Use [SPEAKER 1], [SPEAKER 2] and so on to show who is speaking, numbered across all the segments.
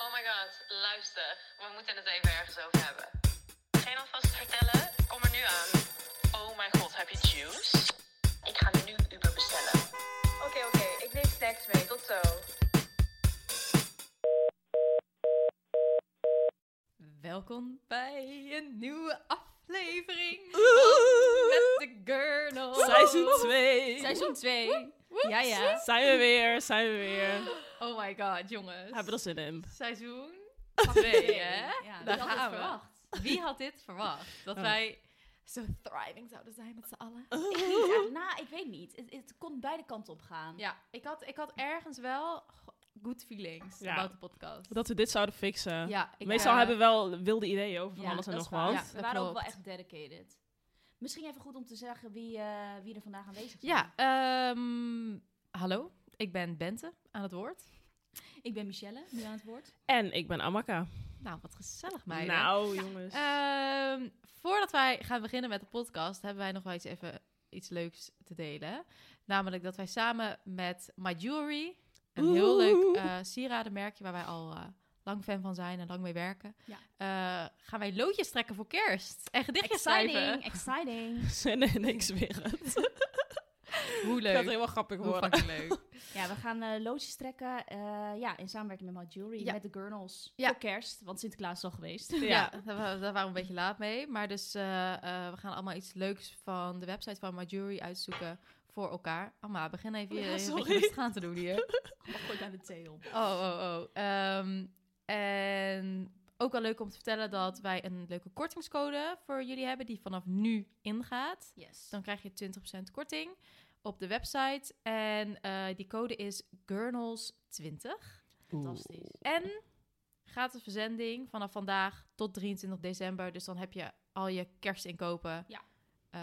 [SPEAKER 1] Oh my god, luister. We moeten het even ergens over hebben. Geen alvast vertellen? Kom er nu aan. Oh mijn god, heb je juice? Ik ga nu Uber bestellen. Oké, oké. Ik neem snacks mee. Tot zo.
[SPEAKER 2] Welkom bij een nieuwe aflevering
[SPEAKER 3] Oeh,
[SPEAKER 2] met de Gurnel.
[SPEAKER 3] Seizoen 2.
[SPEAKER 2] Oh. Seizoen 2. Ja, ja.
[SPEAKER 3] Zijn we weer, zijn we weer.
[SPEAKER 2] Oh my god, jongens.
[SPEAKER 3] Hebben we er zin in?
[SPEAKER 2] Seizoen 2, hè?
[SPEAKER 4] Ja,
[SPEAKER 2] Daar
[SPEAKER 4] wie had dit
[SPEAKER 2] gaan we.
[SPEAKER 4] verwacht?
[SPEAKER 2] Wie had dit verwacht? Dat
[SPEAKER 3] Oh. Uh-huh.
[SPEAKER 2] wij zo thriving zouden zijn met z'n allen.
[SPEAKER 4] Ik niet echt. Nou, ik weet niet. Het, het kon beide kanten op gaan.
[SPEAKER 2] Ja, ik had, ik had ergens wel good feelings
[SPEAKER 3] Ja.
[SPEAKER 2] about de podcast.
[SPEAKER 3] Dat we dit zouden fixen.
[SPEAKER 2] ja, ik
[SPEAKER 3] Meestal
[SPEAKER 2] eh,
[SPEAKER 3] hebben we wel wilde ideeën over van
[SPEAKER 4] Ja,
[SPEAKER 3] alles en
[SPEAKER 4] dat
[SPEAKER 3] nog
[SPEAKER 4] is waar.
[SPEAKER 3] wat.
[SPEAKER 2] Ja,
[SPEAKER 4] we
[SPEAKER 2] dat
[SPEAKER 4] waren ook
[SPEAKER 2] klopt.
[SPEAKER 4] wel echt dedicated. Misschien even goed om te zeggen wie, eh, wie er vandaag aanwezig is.
[SPEAKER 2] Ja, ehm, hallo. Ik ben Bente aan het woord.
[SPEAKER 4] Ik ben Michelle, nu aan het woord.
[SPEAKER 3] En ik ben Amaka.
[SPEAKER 2] Nou, wat gezellig, meiden.
[SPEAKER 3] Nou, jongens.
[SPEAKER 2] Ehm, voordat wij gaan beginnen met de podcast, hebben wij nog wel eens even iets leuks te delen. Namelijk dat wij samen met My Jewelry, een heel leuk eh sieradenmerkje waar wij al eh, lang fan van zijn en lang mee werken,
[SPEAKER 4] Ja.
[SPEAKER 2] eh, gaan wij loodjes trekken voor kerst en gedichtjes schrijven.
[SPEAKER 4] Exciting, exciting.
[SPEAKER 3] Zin in niks weer. Het
[SPEAKER 2] Hoe
[SPEAKER 3] gaat
[SPEAKER 2] leuk.
[SPEAKER 3] helemaal grappig
[SPEAKER 2] Hoe
[SPEAKER 3] worden.
[SPEAKER 2] fucking leuk.
[SPEAKER 4] Ja, we gaan eh loodjes trekken eh, ja, in samenwerking met My Jewelry,
[SPEAKER 2] Ja.
[SPEAKER 4] met de Gurnals.
[SPEAKER 2] Ja.
[SPEAKER 4] Voor kerst, want Sinterklaas is al geweest.
[SPEAKER 2] Ja, daar, wa- daar waren we een beetje laat mee. Maar dus eh, eh, we gaan allemaal iets leuks van de website van My Jewelry uitzoeken voor elkaar. Amma, begin even
[SPEAKER 3] Ja,
[SPEAKER 2] je, je een beetje
[SPEAKER 3] sorry.
[SPEAKER 2] rustig aan te doen hier.
[SPEAKER 4] Gooi aan Oh, de thee op.
[SPEAKER 2] Oh, oh, oh. Ehm, en ook wel leuk om te vertellen dat wij een leuke kortingscode voor jullie hebben die vanaf nu ingaat. Dus
[SPEAKER 4] Yes.
[SPEAKER 2] Dan krijg je 20% korting op de website. En eh, die code is Gurnals20.
[SPEAKER 4] Fantastisch.
[SPEAKER 2] En gratis verzending vanaf vandaag tot 23 december. Dus dan heb je al je kerstinkopen.
[SPEAKER 4] Ja.
[SPEAKER 2] eh,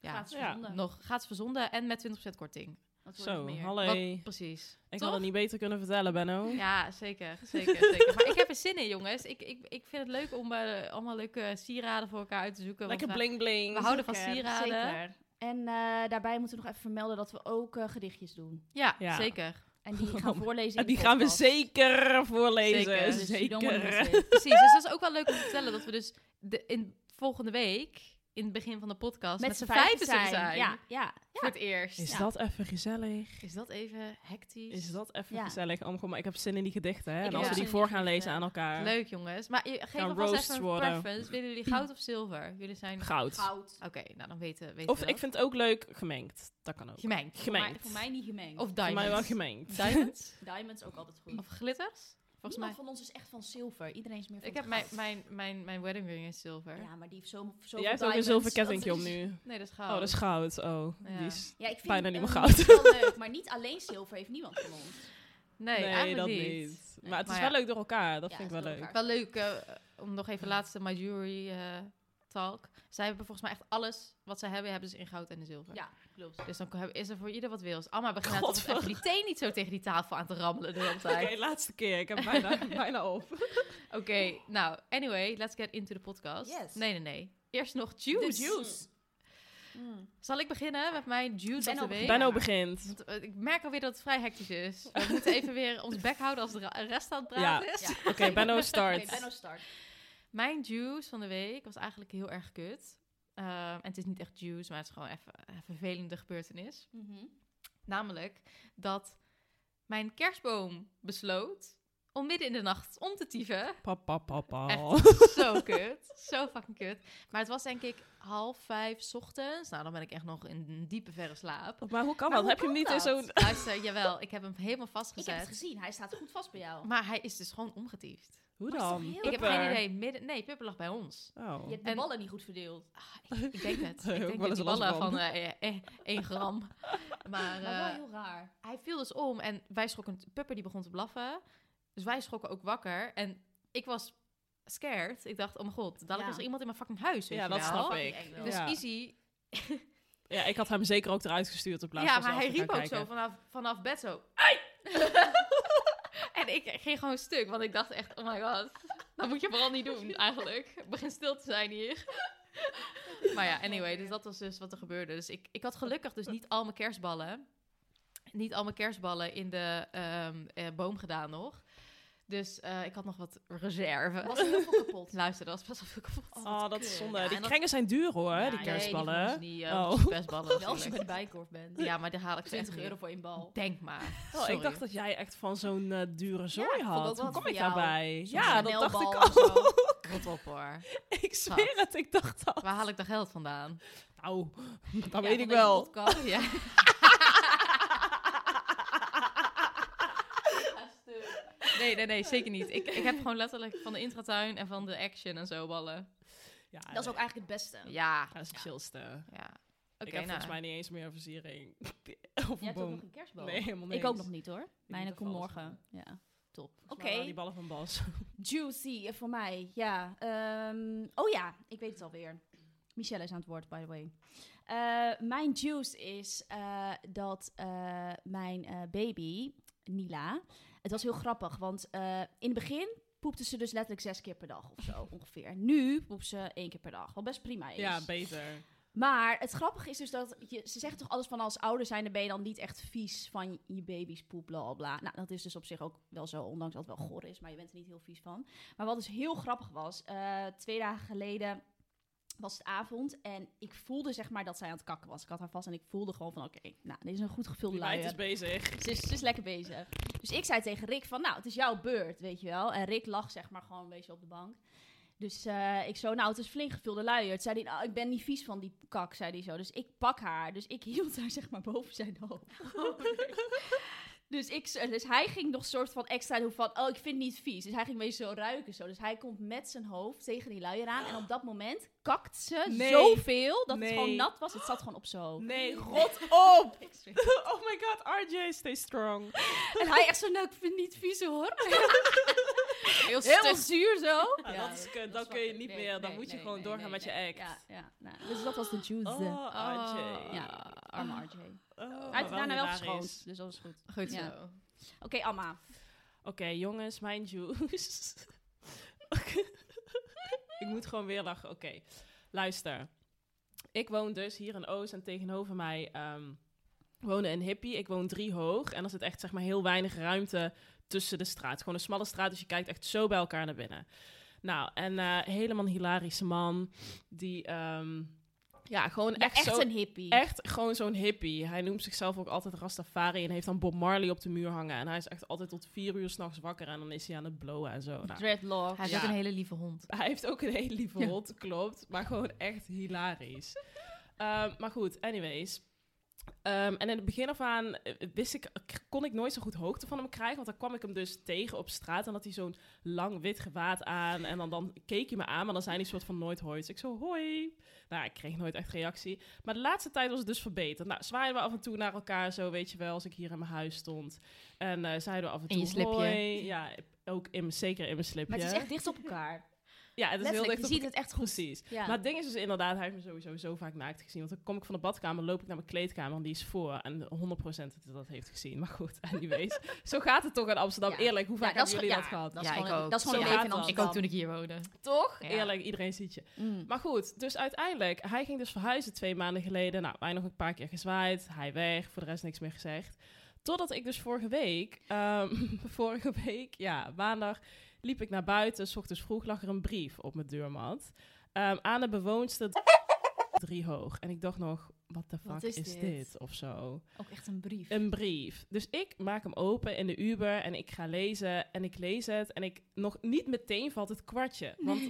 [SPEAKER 2] ja.
[SPEAKER 4] Gratis
[SPEAKER 3] Ja.
[SPEAKER 4] verzonden.
[SPEAKER 2] Nog gratis verzonden en met 20% korting.
[SPEAKER 4] Wat wordt het
[SPEAKER 3] Zo,
[SPEAKER 4] meer?
[SPEAKER 3] Oh, hallo.
[SPEAKER 2] Wat- precies.
[SPEAKER 3] Ik
[SPEAKER 2] Toch?
[SPEAKER 3] had het niet beter kunnen vertellen, Benno.
[SPEAKER 2] Ja, zeker. zeker, zeker. Maar ik heb er zin in, jongens. Ik, ik, ik vind het leuk om eh, allemaal leuke sieraden voor elkaar uit te zoeken. want
[SPEAKER 3] Lekker
[SPEAKER 2] we,
[SPEAKER 3] bling bling.
[SPEAKER 2] we houden van
[SPEAKER 4] Zeker,
[SPEAKER 2] sieraden.
[SPEAKER 4] Zeker. En eh, daarbij moeten we nog even vermelden dat we ook eh, gedichtjes doen.
[SPEAKER 2] Ja,
[SPEAKER 3] Ja.
[SPEAKER 2] zeker.
[SPEAKER 4] En die gaan we voorlezen.
[SPEAKER 3] En
[SPEAKER 4] in de
[SPEAKER 3] die gaan we
[SPEAKER 4] podcast.
[SPEAKER 3] zeker voorlezen.
[SPEAKER 2] Zeker.
[SPEAKER 3] Zeker.
[SPEAKER 4] Dus you don't wanna miss it.
[SPEAKER 2] Precies. Dus dat is ook wel leuk om te vertellen dat we dus de, in volgende week, in het begin van de podcast, met, z'n vijven zullen zijn.
[SPEAKER 4] Ja, ja.
[SPEAKER 2] Voor het eerst.
[SPEAKER 3] Is
[SPEAKER 4] Ja.
[SPEAKER 3] dat even gezellig?
[SPEAKER 2] Is dat even hectisch?
[SPEAKER 3] Is dat even
[SPEAKER 4] Ja.
[SPEAKER 3] gezellig, Amco? Maar ik heb zin in die gedichten, hè?
[SPEAKER 4] Ik
[SPEAKER 3] En
[SPEAKER 2] ook.
[SPEAKER 3] als we die
[SPEAKER 4] Ja.
[SPEAKER 3] voor gaan lezen aan elkaar.
[SPEAKER 2] Leuk, jongens. Maar je- geef
[SPEAKER 3] Gaan
[SPEAKER 2] alvast
[SPEAKER 3] roasts
[SPEAKER 2] even een
[SPEAKER 3] worden.
[SPEAKER 2] preference. Willen jullie goud of zilver? Jullie zijn...
[SPEAKER 3] Goud.
[SPEAKER 4] Goud.
[SPEAKER 2] Oké, nou dan weten, weten
[SPEAKER 3] Of
[SPEAKER 2] we
[SPEAKER 3] ik vind het ook leuk gemengd. Dat kan ook.
[SPEAKER 2] Gemengd.
[SPEAKER 4] Voor mij,
[SPEAKER 3] Gemengd.
[SPEAKER 4] voor mij niet gemengd.
[SPEAKER 2] Of
[SPEAKER 3] Voor
[SPEAKER 2] diamonds.
[SPEAKER 3] mij wel gemengd.
[SPEAKER 2] Diamonds?
[SPEAKER 4] diamonds ook altijd goed.
[SPEAKER 2] Of glitters? Volgens mij.
[SPEAKER 4] Niemand van ons is echt van zilver. Iedereen is meer van
[SPEAKER 2] Ik heb
[SPEAKER 4] het
[SPEAKER 2] mijn,
[SPEAKER 4] goud.
[SPEAKER 2] mijn, mijn, mijn wedding ring is zilver.
[SPEAKER 4] Ja, maar die heeft zo, zo
[SPEAKER 3] Jij hebt ook een zilver kettingje om nu.
[SPEAKER 2] Nee, dat is goud.
[SPEAKER 3] Oh, dat is goud. Oh,
[SPEAKER 2] Ja.
[SPEAKER 3] die is...
[SPEAKER 4] Ja, ik vind
[SPEAKER 3] Bijna
[SPEAKER 4] het,
[SPEAKER 3] niet
[SPEAKER 4] eh,
[SPEAKER 3] meer goud.
[SPEAKER 4] wel leuk, maar niet alleen zilver heeft niemand van ons.
[SPEAKER 2] Nee, eigenlijk
[SPEAKER 3] dat
[SPEAKER 2] niet.
[SPEAKER 3] Maar het is
[SPEAKER 2] Maar
[SPEAKER 3] wel
[SPEAKER 2] ja.
[SPEAKER 3] leuk door elkaar. Dat
[SPEAKER 4] Ja,
[SPEAKER 3] vind ik
[SPEAKER 4] het
[SPEAKER 3] wel
[SPEAKER 4] is door
[SPEAKER 3] leuk.
[SPEAKER 4] elkaar.
[SPEAKER 2] Wel leuk eh, om nog even laatste My Jewelry eh, talk. Zij hebben volgens mij echt alles wat zij hebben, hebben ze in goud en in zilver.
[SPEAKER 4] Ja, klopt.
[SPEAKER 2] Dus dan heb- is er voor ieder wat wils. Amma begint nou toch
[SPEAKER 3] Godver.
[SPEAKER 2] even die thee niet zo tegen die tafel aan te rammelen de hele
[SPEAKER 3] Oké,
[SPEAKER 2] tijd. Oké,
[SPEAKER 3] laatste keer. Ik heb bijna, bijna op.
[SPEAKER 2] nou, anyway, let's get into the podcast.
[SPEAKER 4] Yes.
[SPEAKER 2] Nee, nee, nee. Eerst nog juice.
[SPEAKER 4] De juice.
[SPEAKER 2] Zal ik beginnen met mijn juice of
[SPEAKER 4] Benno
[SPEAKER 2] the week?
[SPEAKER 4] begint.
[SPEAKER 3] Benno begint.
[SPEAKER 2] Want, eh, Ik merk alweer dat het vrij hectisch is. We moeten even weer ons bek houden als de ra- rest aan het praten is.
[SPEAKER 4] Ja.
[SPEAKER 3] Oké, Benno start.
[SPEAKER 4] Oké, Benno start.
[SPEAKER 2] Mijn juice van de week was eigenlijk heel erg kut. Ehm, en het is niet echt juice, maar het is gewoon even een vervelende gebeurtenis.
[SPEAKER 4] Mhm.
[SPEAKER 2] Namelijk dat mijn kerstboom besloot om midden in de nacht om te tieven.
[SPEAKER 3] Papa, papa.
[SPEAKER 2] Echt zo kut. Zo fucking kut. Maar het was denk ik half vijf 's ochtends. Nou, dan ben ik echt nog in een diepe verre slaap.
[SPEAKER 3] Maar hoe kan
[SPEAKER 4] Maar
[SPEAKER 3] dat?
[SPEAKER 4] hoe
[SPEAKER 3] heb je hem
[SPEAKER 4] kan
[SPEAKER 3] niet in
[SPEAKER 4] dat?
[SPEAKER 3] zo'n...
[SPEAKER 2] Luister, jawel, ik heb hem helemaal
[SPEAKER 4] Ik heb het
[SPEAKER 2] vastgezet.
[SPEAKER 4] gezien. Hij staat goed vast bij jou.
[SPEAKER 2] Maar hij is dus gewoon omgetiefd.
[SPEAKER 3] Hoe
[SPEAKER 4] Maar is
[SPEAKER 3] dan?
[SPEAKER 4] toch heel-
[SPEAKER 2] Ik heb
[SPEAKER 3] Pupper.
[SPEAKER 2] geen idee. Midden... Nee, Pippa lag bij ons.
[SPEAKER 3] Oh.
[SPEAKER 4] Je hebt de
[SPEAKER 2] En-
[SPEAKER 4] ballen niet goed verdeeld.
[SPEAKER 2] Ah, ik, ik denk het.
[SPEAKER 3] Daar heb
[SPEAKER 2] Ik denk
[SPEAKER 3] ik
[SPEAKER 2] dat
[SPEAKER 3] wel eens
[SPEAKER 2] die
[SPEAKER 3] last
[SPEAKER 2] ballen
[SPEAKER 3] van.
[SPEAKER 2] van eh, 1 gram. Maar
[SPEAKER 4] Maar
[SPEAKER 2] eh,
[SPEAKER 4] wel heel raar.
[SPEAKER 2] hij viel dus om en wij schrokken. Pupper die begon te blaffen. Dus wij schrokken ook wakker. En ik was scared. Ik dacht, oh mijn god, dadelijk
[SPEAKER 4] Ja.
[SPEAKER 2] is er iemand in mijn fucking huis. Weet
[SPEAKER 3] Ja,
[SPEAKER 2] je
[SPEAKER 3] dat
[SPEAKER 2] wel.
[SPEAKER 3] snap
[SPEAKER 4] Fucking
[SPEAKER 3] ik.
[SPEAKER 4] eng wel.
[SPEAKER 2] Dus
[SPEAKER 3] ja.
[SPEAKER 2] Easy.
[SPEAKER 3] ja, ik had hem zeker ook eruit gestuurd op plaats
[SPEAKER 2] ja,
[SPEAKER 3] van
[SPEAKER 2] maar
[SPEAKER 3] zelf
[SPEAKER 2] hij
[SPEAKER 3] te
[SPEAKER 2] riep
[SPEAKER 3] gaan
[SPEAKER 2] ook zo
[SPEAKER 3] kijken.
[SPEAKER 2] vanaf, vanaf bed zo. "Ai!" en ik ging gewoon stuk, want ik dacht echt, oh my god, dat moet je vooral niet doen eigenlijk. Begin stil te zijn hier. maar ja, anyway, dus dat was dus wat er gebeurde. Dus ik, ik had gelukkig dus niet al mijn kerstballen, niet al mijn kerstballen in de ehm, eh, boom gedaan nog. Dus eh, ik had nog wat reserve.
[SPEAKER 3] eh.
[SPEAKER 4] Was er heel veel kapot?
[SPEAKER 2] Luister, dat was best wel veel kapot.
[SPEAKER 4] Oh,
[SPEAKER 3] Oh,
[SPEAKER 4] wat
[SPEAKER 3] dat
[SPEAKER 4] kut.
[SPEAKER 3] is zonde.
[SPEAKER 2] Ja,
[SPEAKER 3] die
[SPEAKER 2] en dat-
[SPEAKER 3] kringen zijn duur hoor,
[SPEAKER 4] Ja,
[SPEAKER 3] die
[SPEAKER 4] nee, die
[SPEAKER 3] kerstballen.
[SPEAKER 2] Nee, die van ons
[SPEAKER 3] Oh.
[SPEAKER 2] niet, eh, kerstballen.
[SPEAKER 4] Wel als je bij de
[SPEAKER 2] natuurlijk.
[SPEAKER 4] bijkorf bent.
[SPEAKER 2] Ja, maar daar haal ik
[SPEAKER 4] 20 euro
[SPEAKER 2] euro.
[SPEAKER 4] voor één bal.
[SPEAKER 2] Denk maar.
[SPEAKER 3] Oh, ik
[SPEAKER 2] Sorry.
[SPEAKER 3] dacht dat jij echt van zo'n eh, dure zooi
[SPEAKER 4] ik vond ook
[SPEAKER 3] had.
[SPEAKER 4] wel
[SPEAKER 3] Hoe
[SPEAKER 4] wat
[SPEAKER 3] kom
[SPEAKER 4] voor
[SPEAKER 3] ik
[SPEAKER 4] jou.
[SPEAKER 3] daarbij?
[SPEAKER 4] Zo'n
[SPEAKER 3] Ja, dat dacht
[SPEAKER 4] snelbal
[SPEAKER 3] ik
[SPEAKER 4] of zo.
[SPEAKER 3] al.
[SPEAKER 2] Rot op hoor.
[SPEAKER 3] ik zweer het, ik dacht dat.
[SPEAKER 2] Waar haal ik dat geld vandaan?
[SPEAKER 3] Nou, dat
[SPEAKER 2] Ja,
[SPEAKER 3] weet
[SPEAKER 2] van
[SPEAKER 3] ik
[SPEAKER 2] deze
[SPEAKER 3] wel.
[SPEAKER 2] podcast. Ja. Nee, nee, nee, zeker niet. Ik, ik heb gewoon letterlijk van de intratuin en van de action en zo ballen.
[SPEAKER 3] Ja,
[SPEAKER 4] Dat is ook eigenlijk het beste.
[SPEAKER 2] Ja.
[SPEAKER 3] dat is het chillste.
[SPEAKER 2] ja.
[SPEAKER 3] ik
[SPEAKER 2] Oké,
[SPEAKER 3] heb
[SPEAKER 2] nou.
[SPEAKER 3] volgens mij niet eens meer een versiering. of
[SPEAKER 4] Jij
[SPEAKER 3] een
[SPEAKER 4] hebt ook nog
[SPEAKER 3] boom.
[SPEAKER 4] een kerstbal.
[SPEAKER 3] Nee, helemaal niks.
[SPEAKER 4] ik ook nog niet hoor. Mijne
[SPEAKER 3] niet
[SPEAKER 4] komt
[SPEAKER 3] of alles.
[SPEAKER 4] morgen. Ja, top. Oké,
[SPEAKER 3] Volgens mij waren Die ballen van Bas.
[SPEAKER 4] juicy eh, voor mij. Ja. ehm, oh ja, ik weet het alweer. Michelle is aan het woord, by the way. Eh, mijn juice is eh, dat eh, mijn eh, baby, Nila... Het was heel grappig, want eh, in het begin poepte ze dus letterlijk zes keer per dag of zo ongeveer. Nu poept ze één keer per dag. Wat best prima is.
[SPEAKER 3] Ja, beter.
[SPEAKER 4] Maar het grappige is dus dat je, ze zeggen toch alles van als ouder zijn, dan ben je dan niet echt vies van je baby's poep, bla bla, bla. Nou, dat is dus op zich ook wel zo, ondanks dat het wel gor is, maar je bent er niet heel vies van. Maar wat dus heel grappig was, eh, twee dagen geleden was het avond en ik voelde zeg maar dat zij aan het kakken was. Ik had haar vast en ik voelde gewoon van oké, nou, dit is een goed gevulde
[SPEAKER 3] Die meid
[SPEAKER 4] luier.
[SPEAKER 3] is bezig.
[SPEAKER 4] Ze is, ze is lekker bezig. Dus ik zei tegen Rick van, nou, het is jouw beurt, weet je wel. En Rick lag zeg maar gewoon een beetje op de bank. Dus eh, ik zo, nou, het is flink gevulde luier. Toen zei hij, nou, ik ben niet vies van die kak, zei hij zo. Dus ik pak haar. Dus ik hield haar zeg maar boven zijn hoofd.
[SPEAKER 3] Oh,
[SPEAKER 4] Dus, ik, zo- dus hij ging nog soort van extra doen van, oh, ik vind het niet vies. Dus hij ging weer zo ruiken zo. Dus hij komt met zijn hoofd tegen die luier aan. En op dat moment kakt ze
[SPEAKER 3] Nee.
[SPEAKER 4] zoveel dat
[SPEAKER 3] Nee.
[SPEAKER 4] het gewoon nat was. Het zat gewoon op zo. hoofd.
[SPEAKER 3] Nee, rot op! oh my god, RJ, stay strong.
[SPEAKER 4] En hij echt zo, nou, ik vind het niet vies hoor.
[SPEAKER 2] Heel
[SPEAKER 4] Heel
[SPEAKER 2] stuk.
[SPEAKER 4] zuur zo.
[SPEAKER 3] Ah, dat is kut, dan kun je niet meer, dan moet je gewoon doorgaan met je act.
[SPEAKER 4] Ja, ja. Nou, dus dat was de juice.
[SPEAKER 3] Oh, RJ.
[SPEAKER 2] Oh.
[SPEAKER 4] Ja, arme RJ.
[SPEAKER 3] Oh,
[SPEAKER 4] hij heeft
[SPEAKER 3] wel
[SPEAKER 4] daarna wel
[SPEAKER 3] hilarisch.
[SPEAKER 4] verschoond, dus dat was goed.
[SPEAKER 2] Goed zo.
[SPEAKER 4] Ja. Oké, Amma.
[SPEAKER 3] Oké, jongens, mijn juice. ik moet gewoon weer lachen. Oké, luister. Ik woon dus hier in Oost en tegenover mij ehm wonen een hippie. Ik woon drie hoog en er zit echt zeg maar heel weinig ruimte tussen de straat. Gewoon een smalle straat, dus je kijkt echt zo bij elkaar naar binnen. Nou, en eh, helemaal een hilarische man die... ehm, ja, gewoon
[SPEAKER 4] Ja,
[SPEAKER 3] echt,
[SPEAKER 4] echt
[SPEAKER 3] zo...
[SPEAKER 4] een hippie.
[SPEAKER 3] Echt gewoon zo'n hippie. Hij noemt zichzelf ook altijd Rastafari en heeft dan Bob Marley op de muur hangen. En hij is echt altijd tot vier uur s'nachts wakker en dan is hij aan het blowen en zo. Nou,
[SPEAKER 4] Dreadlocks.
[SPEAKER 2] Hij is
[SPEAKER 3] Ja.
[SPEAKER 2] ook een hele lieve hond.
[SPEAKER 3] hij heeft ook een hele lieve
[SPEAKER 2] Ja.
[SPEAKER 3] hond, klopt. Maar gewoon echt hilarisch. Ehm, maar goed, anyways. Ehm, en in het begin af aan eh, wist ik, kon ik nooit zo goed hoogte van hem krijgen. Want dan kwam ik hem dus tegen op straat. En had hij zo'n lang wit gewaad aan. En dan, dan keek hij me aan, maar dan zei hij soort van nooit hoi. Dus ik zo, hoi. Nou, ik kreeg nooit echt reactie. Maar de laatste tijd was het dus verbeterd. Nou, zwaaiden we af en toe naar elkaar zo, weet je wel. Als ik hier in mijn huis stond. En eh, zeiden we af en
[SPEAKER 2] In
[SPEAKER 3] toe
[SPEAKER 2] je slipje.
[SPEAKER 3] hoi. Ja, ook in, mijn- zeker in mijn slipje.
[SPEAKER 4] Maar het is echt dicht op elkaar.
[SPEAKER 3] Ja, het is heel
[SPEAKER 4] Letterlijk,
[SPEAKER 3] dicht
[SPEAKER 4] je
[SPEAKER 3] op
[SPEAKER 4] ziet het echt goed.
[SPEAKER 3] Precies.
[SPEAKER 4] Ja.
[SPEAKER 3] Maar het ding is dus inderdaad, hij heeft me sowieso zo vaak naakt gezien. Want dan kom ik van de badkamer, loop ik naar mijn kleedkamer en die is voor. En 100% dat hij dat heeft gezien. Maar goed, anyways. zo gaat het toch in Amsterdam.
[SPEAKER 4] Ja.
[SPEAKER 3] Eerlijk, hoe vaak
[SPEAKER 4] dat
[SPEAKER 3] hebben
[SPEAKER 4] is
[SPEAKER 3] jullie
[SPEAKER 4] ge-
[SPEAKER 3] dat
[SPEAKER 4] ja,
[SPEAKER 3] gehad?
[SPEAKER 4] Dat is
[SPEAKER 2] Ja,
[SPEAKER 4] gewoon,
[SPEAKER 2] ik
[SPEAKER 4] een-
[SPEAKER 2] ook.
[SPEAKER 4] Dat is gewoon
[SPEAKER 3] Zo
[SPEAKER 4] een leven in
[SPEAKER 3] gaat dat.
[SPEAKER 2] Ik
[SPEAKER 4] Amsterdam.
[SPEAKER 2] ook toen ik hier woonde.
[SPEAKER 3] Toch?
[SPEAKER 2] Ja.
[SPEAKER 3] Eerlijk, iedereen ziet je.
[SPEAKER 4] Mm.
[SPEAKER 3] Maar goed, dus uiteindelijk, hij ging dus verhuizen twee maanden geleden. Nou, wij nog een paar keer gezwaaid, hij weg, voor de rest niks meer gezegd. Totdat ik dus vorige week, ehm, vorige week, ja, maandag, liep ik naar buiten. 's ochtends vroeg lag er een brief op mijn deurmat. ehm, aan de bewoonster drie hoog. En ik dacht nog, wat de
[SPEAKER 4] Wat
[SPEAKER 3] fuck
[SPEAKER 4] is
[SPEAKER 3] is,
[SPEAKER 4] dit?
[SPEAKER 3] dit? Of zo.
[SPEAKER 4] Ook echt een brief.
[SPEAKER 3] Een brief. Dus ik maak hem open in de Uber en ik ga lezen en ik lees het. En ik, nog niet meteen valt het kwartje. Want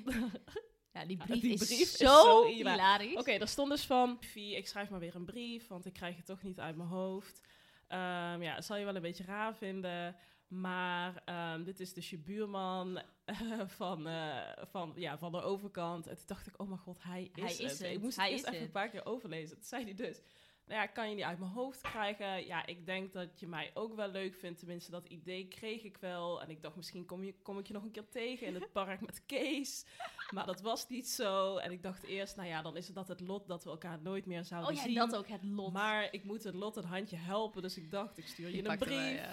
[SPEAKER 4] Ja, die brief,
[SPEAKER 3] Die
[SPEAKER 4] is,
[SPEAKER 3] brief is
[SPEAKER 4] zo,
[SPEAKER 3] zo hila-
[SPEAKER 4] hilarisch.
[SPEAKER 3] Oké, daar stond dus van, Vie, ik schrijf maar weer een brief, want ik krijg het toch niet uit mijn hoofd. Ehm, ja, het zal je wel een beetje raar vinden, maar ehm, dit is dus je buurman van, eh, van, ja, van de overkant. En toen dacht ik, oh mijn god, hij is,
[SPEAKER 4] Hij is het.
[SPEAKER 3] Ik moest
[SPEAKER 4] Hij
[SPEAKER 3] het eerst
[SPEAKER 4] is
[SPEAKER 3] even
[SPEAKER 4] het.
[SPEAKER 3] een paar keer overlezen. Toen zei hij dus, nou ja, ik kan je niet uit mijn hoofd krijgen. Ja, ik denk dat je mij ook wel leuk vindt. Tenminste, dat idee kreeg ik wel. En ik dacht, misschien kom, je, kom ik je nog een keer tegen in het park met Kees. Maar dat was niet zo. En ik dacht eerst, nou ja, dan is het dat het lot dat nou, we elkaar nooit meer zouden
[SPEAKER 4] Oh ja, en
[SPEAKER 3] zien.
[SPEAKER 4] dat ook, het lot.
[SPEAKER 3] Maar ik moet het lot een handje helpen. Dus ik dacht, ik stuur je,
[SPEAKER 2] Die
[SPEAKER 3] een
[SPEAKER 2] pakte
[SPEAKER 3] brief.
[SPEAKER 2] wel, ja.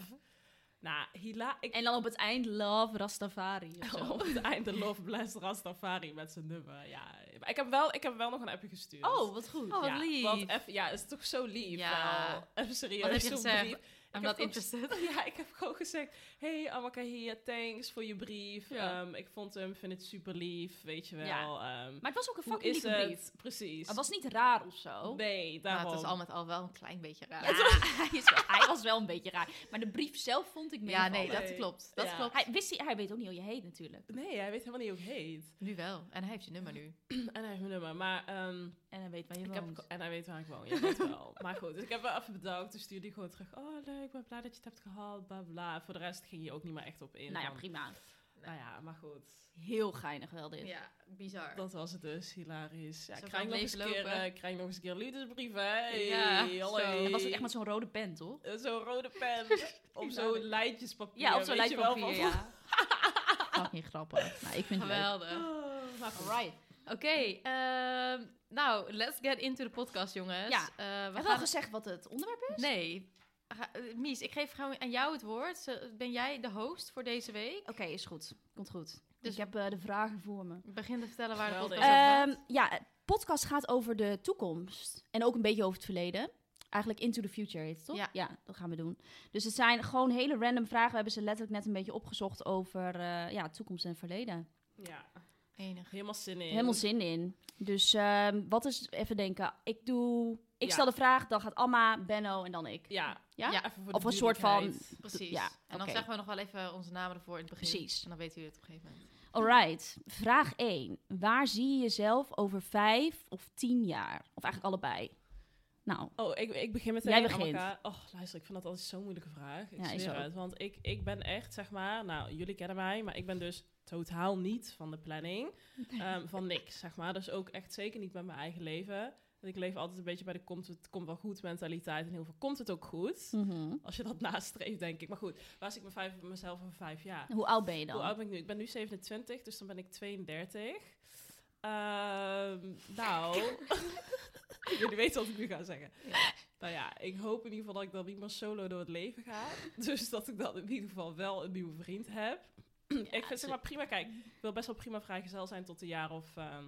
[SPEAKER 3] Nou, hila, ik
[SPEAKER 4] En dan op het eind, love Rastafari of zo.
[SPEAKER 3] op het einde Love Bless Rastafari met zijn nummer. Ja, maar ik heb wel, ik heb wel nog een appje gestuurd.
[SPEAKER 4] Oh, wat goed.
[SPEAKER 2] Oh, wat
[SPEAKER 3] ja,
[SPEAKER 2] lief.
[SPEAKER 3] Want eff- ja, het is toch zo lief.
[SPEAKER 2] Ja.
[SPEAKER 3] wel. Even serieus.
[SPEAKER 2] Wat heb je
[SPEAKER 3] zo'n
[SPEAKER 2] gezegd?
[SPEAKER 3] brief.
[SPEAKER 2] I'm
[SPEAKER 3] heb
[SPEAKER 2] not
[SPEAKER 3] ook-
[SPEAKER 2] interested.
[SPEAKER 3] Ja, ik heb gewoon gezegd, hey Amaka hier, thanks voor je brief.
[SPEAKER 2] Ja.
[SPEAKER 3] Ehm, ik vond hem, vind het super lief, weet je wel.
[SPEAKER 4] Ja.
[SPEAKER 3] ehm,
[SPEAKER 4] Maar het was ook een
[SPEAKER 3] hoe
[SPEAKER 4] fucking
[SPEAKER 3] is
[SPEAKER 4] lieve
[SPEAKER 3] het?
[SPEAKER 4] brief.
[SPEAKER 3] Precies.
[SPEAKER 4] Het was niet raar of zo.
[SPEAKER 3] Nee,
[SPEAKER 2] Maar
[SPEAKER 3] daarom.
[SPEAKER 2] het is al met al wel een klein beetje raar.
[SPEAKER 4] Ja, hij, is wel- hij was wel een beetje raar. Maar de brief zelf vond ik
[SPEAKER 2] Ja,
[SPEAKER 4] meevallen.
[SPEAKER 2] nee, dat
[SPEAKER 3] Nee.
[SPEAKER 2] klopt. Dat
[SPEAKER 3] Ja.
[SPEAKER 2] klopt.
[SPEAKER 4] Hij, wist, hij hij weet ook niet hoe je heet natuurlijk.
[SPEAKER 3] Nee, hij weet helemaal niet hoe ik heet.
[SPEAKER 2] Nu wel. En hij heeft je nummer nu.
[SPEAKER 3] en hij heeft mijn nummer, maar... ehm,
[SPEAKER 4] En hij weet waar je
[SPEAKER 3] Ik
[SPEAKER 4] woont.
[SPEAKER 3] heb, en hij weet waar ik woon, ja, dat wel. Maar goed, dus ik heb wel even bedankt. Toen stuurde hij gewoon terug. Oh, leuk, ik ben blij dat je het hebt gehaald, bla bla. Voor de rest ging je ook niet meer echt op in.
[SPEAKER 4] nou ja,
[SPEAKER 3] van-
[SPEAKER 4] prima.
[SPEAKER 3] Nou ja, maar goed.
[SPEAKER 4] Heel geinig wel dit.
[SPEAKER 2] Ja, bizar.
[SPEAKER 3] Dat was het dus, hilarisch. Ja,
[SPEAKER 2] Zo
[SPEAKER 3] ik krijg
[SPEAKER 2] van
[SPEAKER 3] nog eens, een keer,
[SPEAKER 2] leeglopen.
[SPEAKER 3] eh, ik krijg nog eens een keer liefdesbrief, hè? Hey,
[SPEAKER 2] Ja,
[SPEAKER 3] hallo.
[SPEAKER 2] zo.
[SPEAKER 4] Dat was ook echt met zo'n rode pen, toch?
[SPEAKER 3] Eh, zo'n rode pen op zo'n
[SPEAKER 2] Hilarisch.
[SPEAKER 3] lijntjespapier.
[SPEAKER 4] Ja, op zo'n
[SPEAKER 3] weet je wel,
[SPEAKER 4] lijstpapier,
[SPEAKER 3] van-
[SPEAKER 4] ja. Fucking grappig. Nou, ik vind het leuk.
[SPEAKER 2] Geweldig.
[SPEAKER 3] Oh, maar goed.
[SPEAKER 4] Alright.
[SPEAKER 2] Oké, ehm, nou, let's get into the podcast, jongens.
[SPEAKER 4] Ja.
[SPEAKER 2] Eh, we
[SPEAKER 4] Hebben we al
[SPEAKER 2] gaan...
[SPEAKER 4] gezegd wat het onderwerp is?
[SPEAKER 2] Nee. Ga- eh, Mies, ik geef gewoon aan jou het woord. Zo- Ben jij de host voor deze week?
[SPEAKER 4] Oké, is goed. Komt goed.
[SPEAKER 2] Dus-
[SPEAKER 4] Dus ik heb eh, de vragen voor me.
[SPEAKER 2] Begin te vertellen waar de
[SPEAKER 3] Geweldig.
[SPEAKER 2] podcast over
[SPEAKER 4] Ehm
[SPEAKER 2] gaat.
[SPEAKER 4] ja, het podcast gaat over de toekomst. En ook een beetje over het verleden. Eigenlijk Into the Future heet het, toch?
[SPEAKER 2] Ja.
[SPEAKER 4] dat gaan we doen. Dus het zijn gewoon hele random vragen. We hebben ze letterlijk net een beetje opgezocht over eh, ja, toekomst en verleden.
[SPEAKER 3] Ja,
[SPEAKER 4] Ehm,
[SPEAKER 2] Enig.
[SPEAKER 3] helemaal zin in.
[SPEAKER 4] Helemaal zin in. Dus ehm, wat is, even denken, ik doe... Ik
[SPEAKER 3] Ja.
[SPEAKER 4] stel de vraag, dan gaat Amma, Benno en dan ik.
[SPEAKER 3] Ja,
[SPEAKER 4] Ja?
[SPEAKER 2] Ja.
[SPEAKER 3] even voor de
[SPEAKER 4] Of een soort van...
[SPEAKER 3] duidelijkheid.
[SPEAKER 2] Precies.
[SPEAKER 4] Ja,
[SPEAKER 2] en dan
[SPEAKER 4] oké.
[SPEAKER 2] zeggen we nog wel even onze namen ervoor in het begin.
[SPEAKER 4] Precies.
[SPEAKER 2] En dan weten jullie het op een gegeven moment.
[SPEAKER 4] Alright, vraag 1. Waar zie je jezelf over vijf of tien jaar? Of eigenlijk allebei. Nou,
[SPEAKER 3] Oh, ik, ik begin met
[SPEAKER 4] Jij begint.
[SPEAKER 3] Oh, luister, ik vind dat altijd zo'n moeilijke vraag. Ik
[SPEAKER 4] Ja, is
[SPEAKER 3] zweer
[SPEAKER 4] ook.
[SPEAKER 3] het. Want ik, ik ben echt, zeg maar... Nou, jullie kennen mij, maar ik ben dus totaal niet van de planning. ehm, van niks, zeg maar. Dus ook echt zeker niet met mijn eigen leven. Want ik leef altijd een beetje bij de komt het komt wel goed mentaliteit. En heel veel komt het ook goed.
[SPEAKER 4] mhm.
[SPEAKER 3] Als je dat nastreeft, denk ik. Maar goed, waar zie ik me vijf, mezelf over vijf jaar?
[SPEAKER 4] hoe oud ben je dan?
[SPEAKER 3] Hoe oud ben ik nu? Ik ben nu 27, dus dan ben ik 32. Ehm, nou, jullie weten wat ik nu ga zeggen. Nou ja, ik hoop in ieder geval dat ik dan niet meer solo door het leven ga. Dus dat ik dan in ieder geval wel een nieuwe vriend heb. ik vind zeg maar prima, kijk, ik wil best wel prima vrijgezel zijn tot een jaar of... ehm,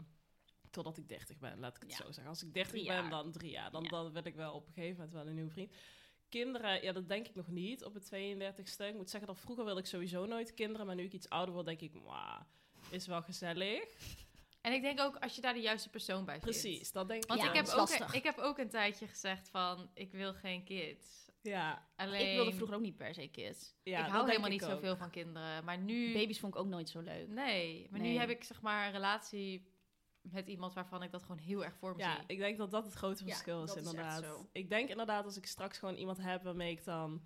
[SPEAKER 3] totdat ik 30 ben, laat ik het
[SPEAKER 4] Ja.
[SPEAKER 3] zo zeggen. Als ik 30
[SPEAKER 4] Drie
[SPEAKER 3] ben,
[SPEAKER 4] jaar.
[SPEAKER 3] dan drie jaar. Dan,
[SPEAKER 4] Ja.
[SPEAKER 3] dan wil ik wel op een gegeven moment wel een nieuwe vriend. Kinderen, ja, dat denk ik nog niet op mijn 32ste. Ik moet zeggen dat vroeger wilde ik sowieso nooit kinderen. Maar nu ik iets ouder word, denk ik, "Mwah, is wel gezellig.
[SPEAKER 2] En ik denk ook als je daar de juiste persoon bij vindt.
[SPEAKER 3] Precies, dat denk ik.
[SPEAKER 2] Want
[SPEAKER 4] Ja,
[SPEAKER 2] ik,
[SPEAKER 4] dat
[SPEAKER 2] heb
[SPEAKER 4] is
[SPEAKER 2] ook,
[SPEAKER 4] lastig.
[SPEAKER 2] ik heb ook een tijdje gezegd van, ik wil geen kids.
[SPEAKER 3] Ja,
[SPEAKER 2] Alleen,
[SPEAKER 4] Ik wilde vroeger ook niet per se kids.
[SPEAKER 3] ja,
[SPEAKER 2] ik
[SPEAKER 3] dat
[SPEAKER 2] hou
[SPEAKER 3] denk
[SPEAKER 2] helemaal
[SPEAKER 3] ik
[SPEAKER 2] niet
[SPEAKER 3] ook.
[SPEAKER 2] zoveel van kinderen. Maar
[SPEAKER 3] Mm.
[SPEAKER 2] nu...
[SPEAKER 4] Baby's vond ik ook nooit zo leuk.
[SPEAKER 2] Nee, maar nu
[SPEAKER 4] Nee.
[SPEAKER 2] heb ik zeg maar een relatie met iemand waarvan ik dat gewoon heel erg voor me
[SPEAKER 3] Ja,
[SPEAKER 2] zie.
[SPEAKER 3] ik denk dat dat het grote
[SPEAKER 2] Ja,
[SPEAKER 3] verschil is,
[SPEAKER 2] dat is echt
[SPEAKER 3] inderdaad.
[SPEAKER 2] zo.
[SPEAKER 3] Ik denk inderdaad als ik straks gewoon iemand heb waarmee ik dan...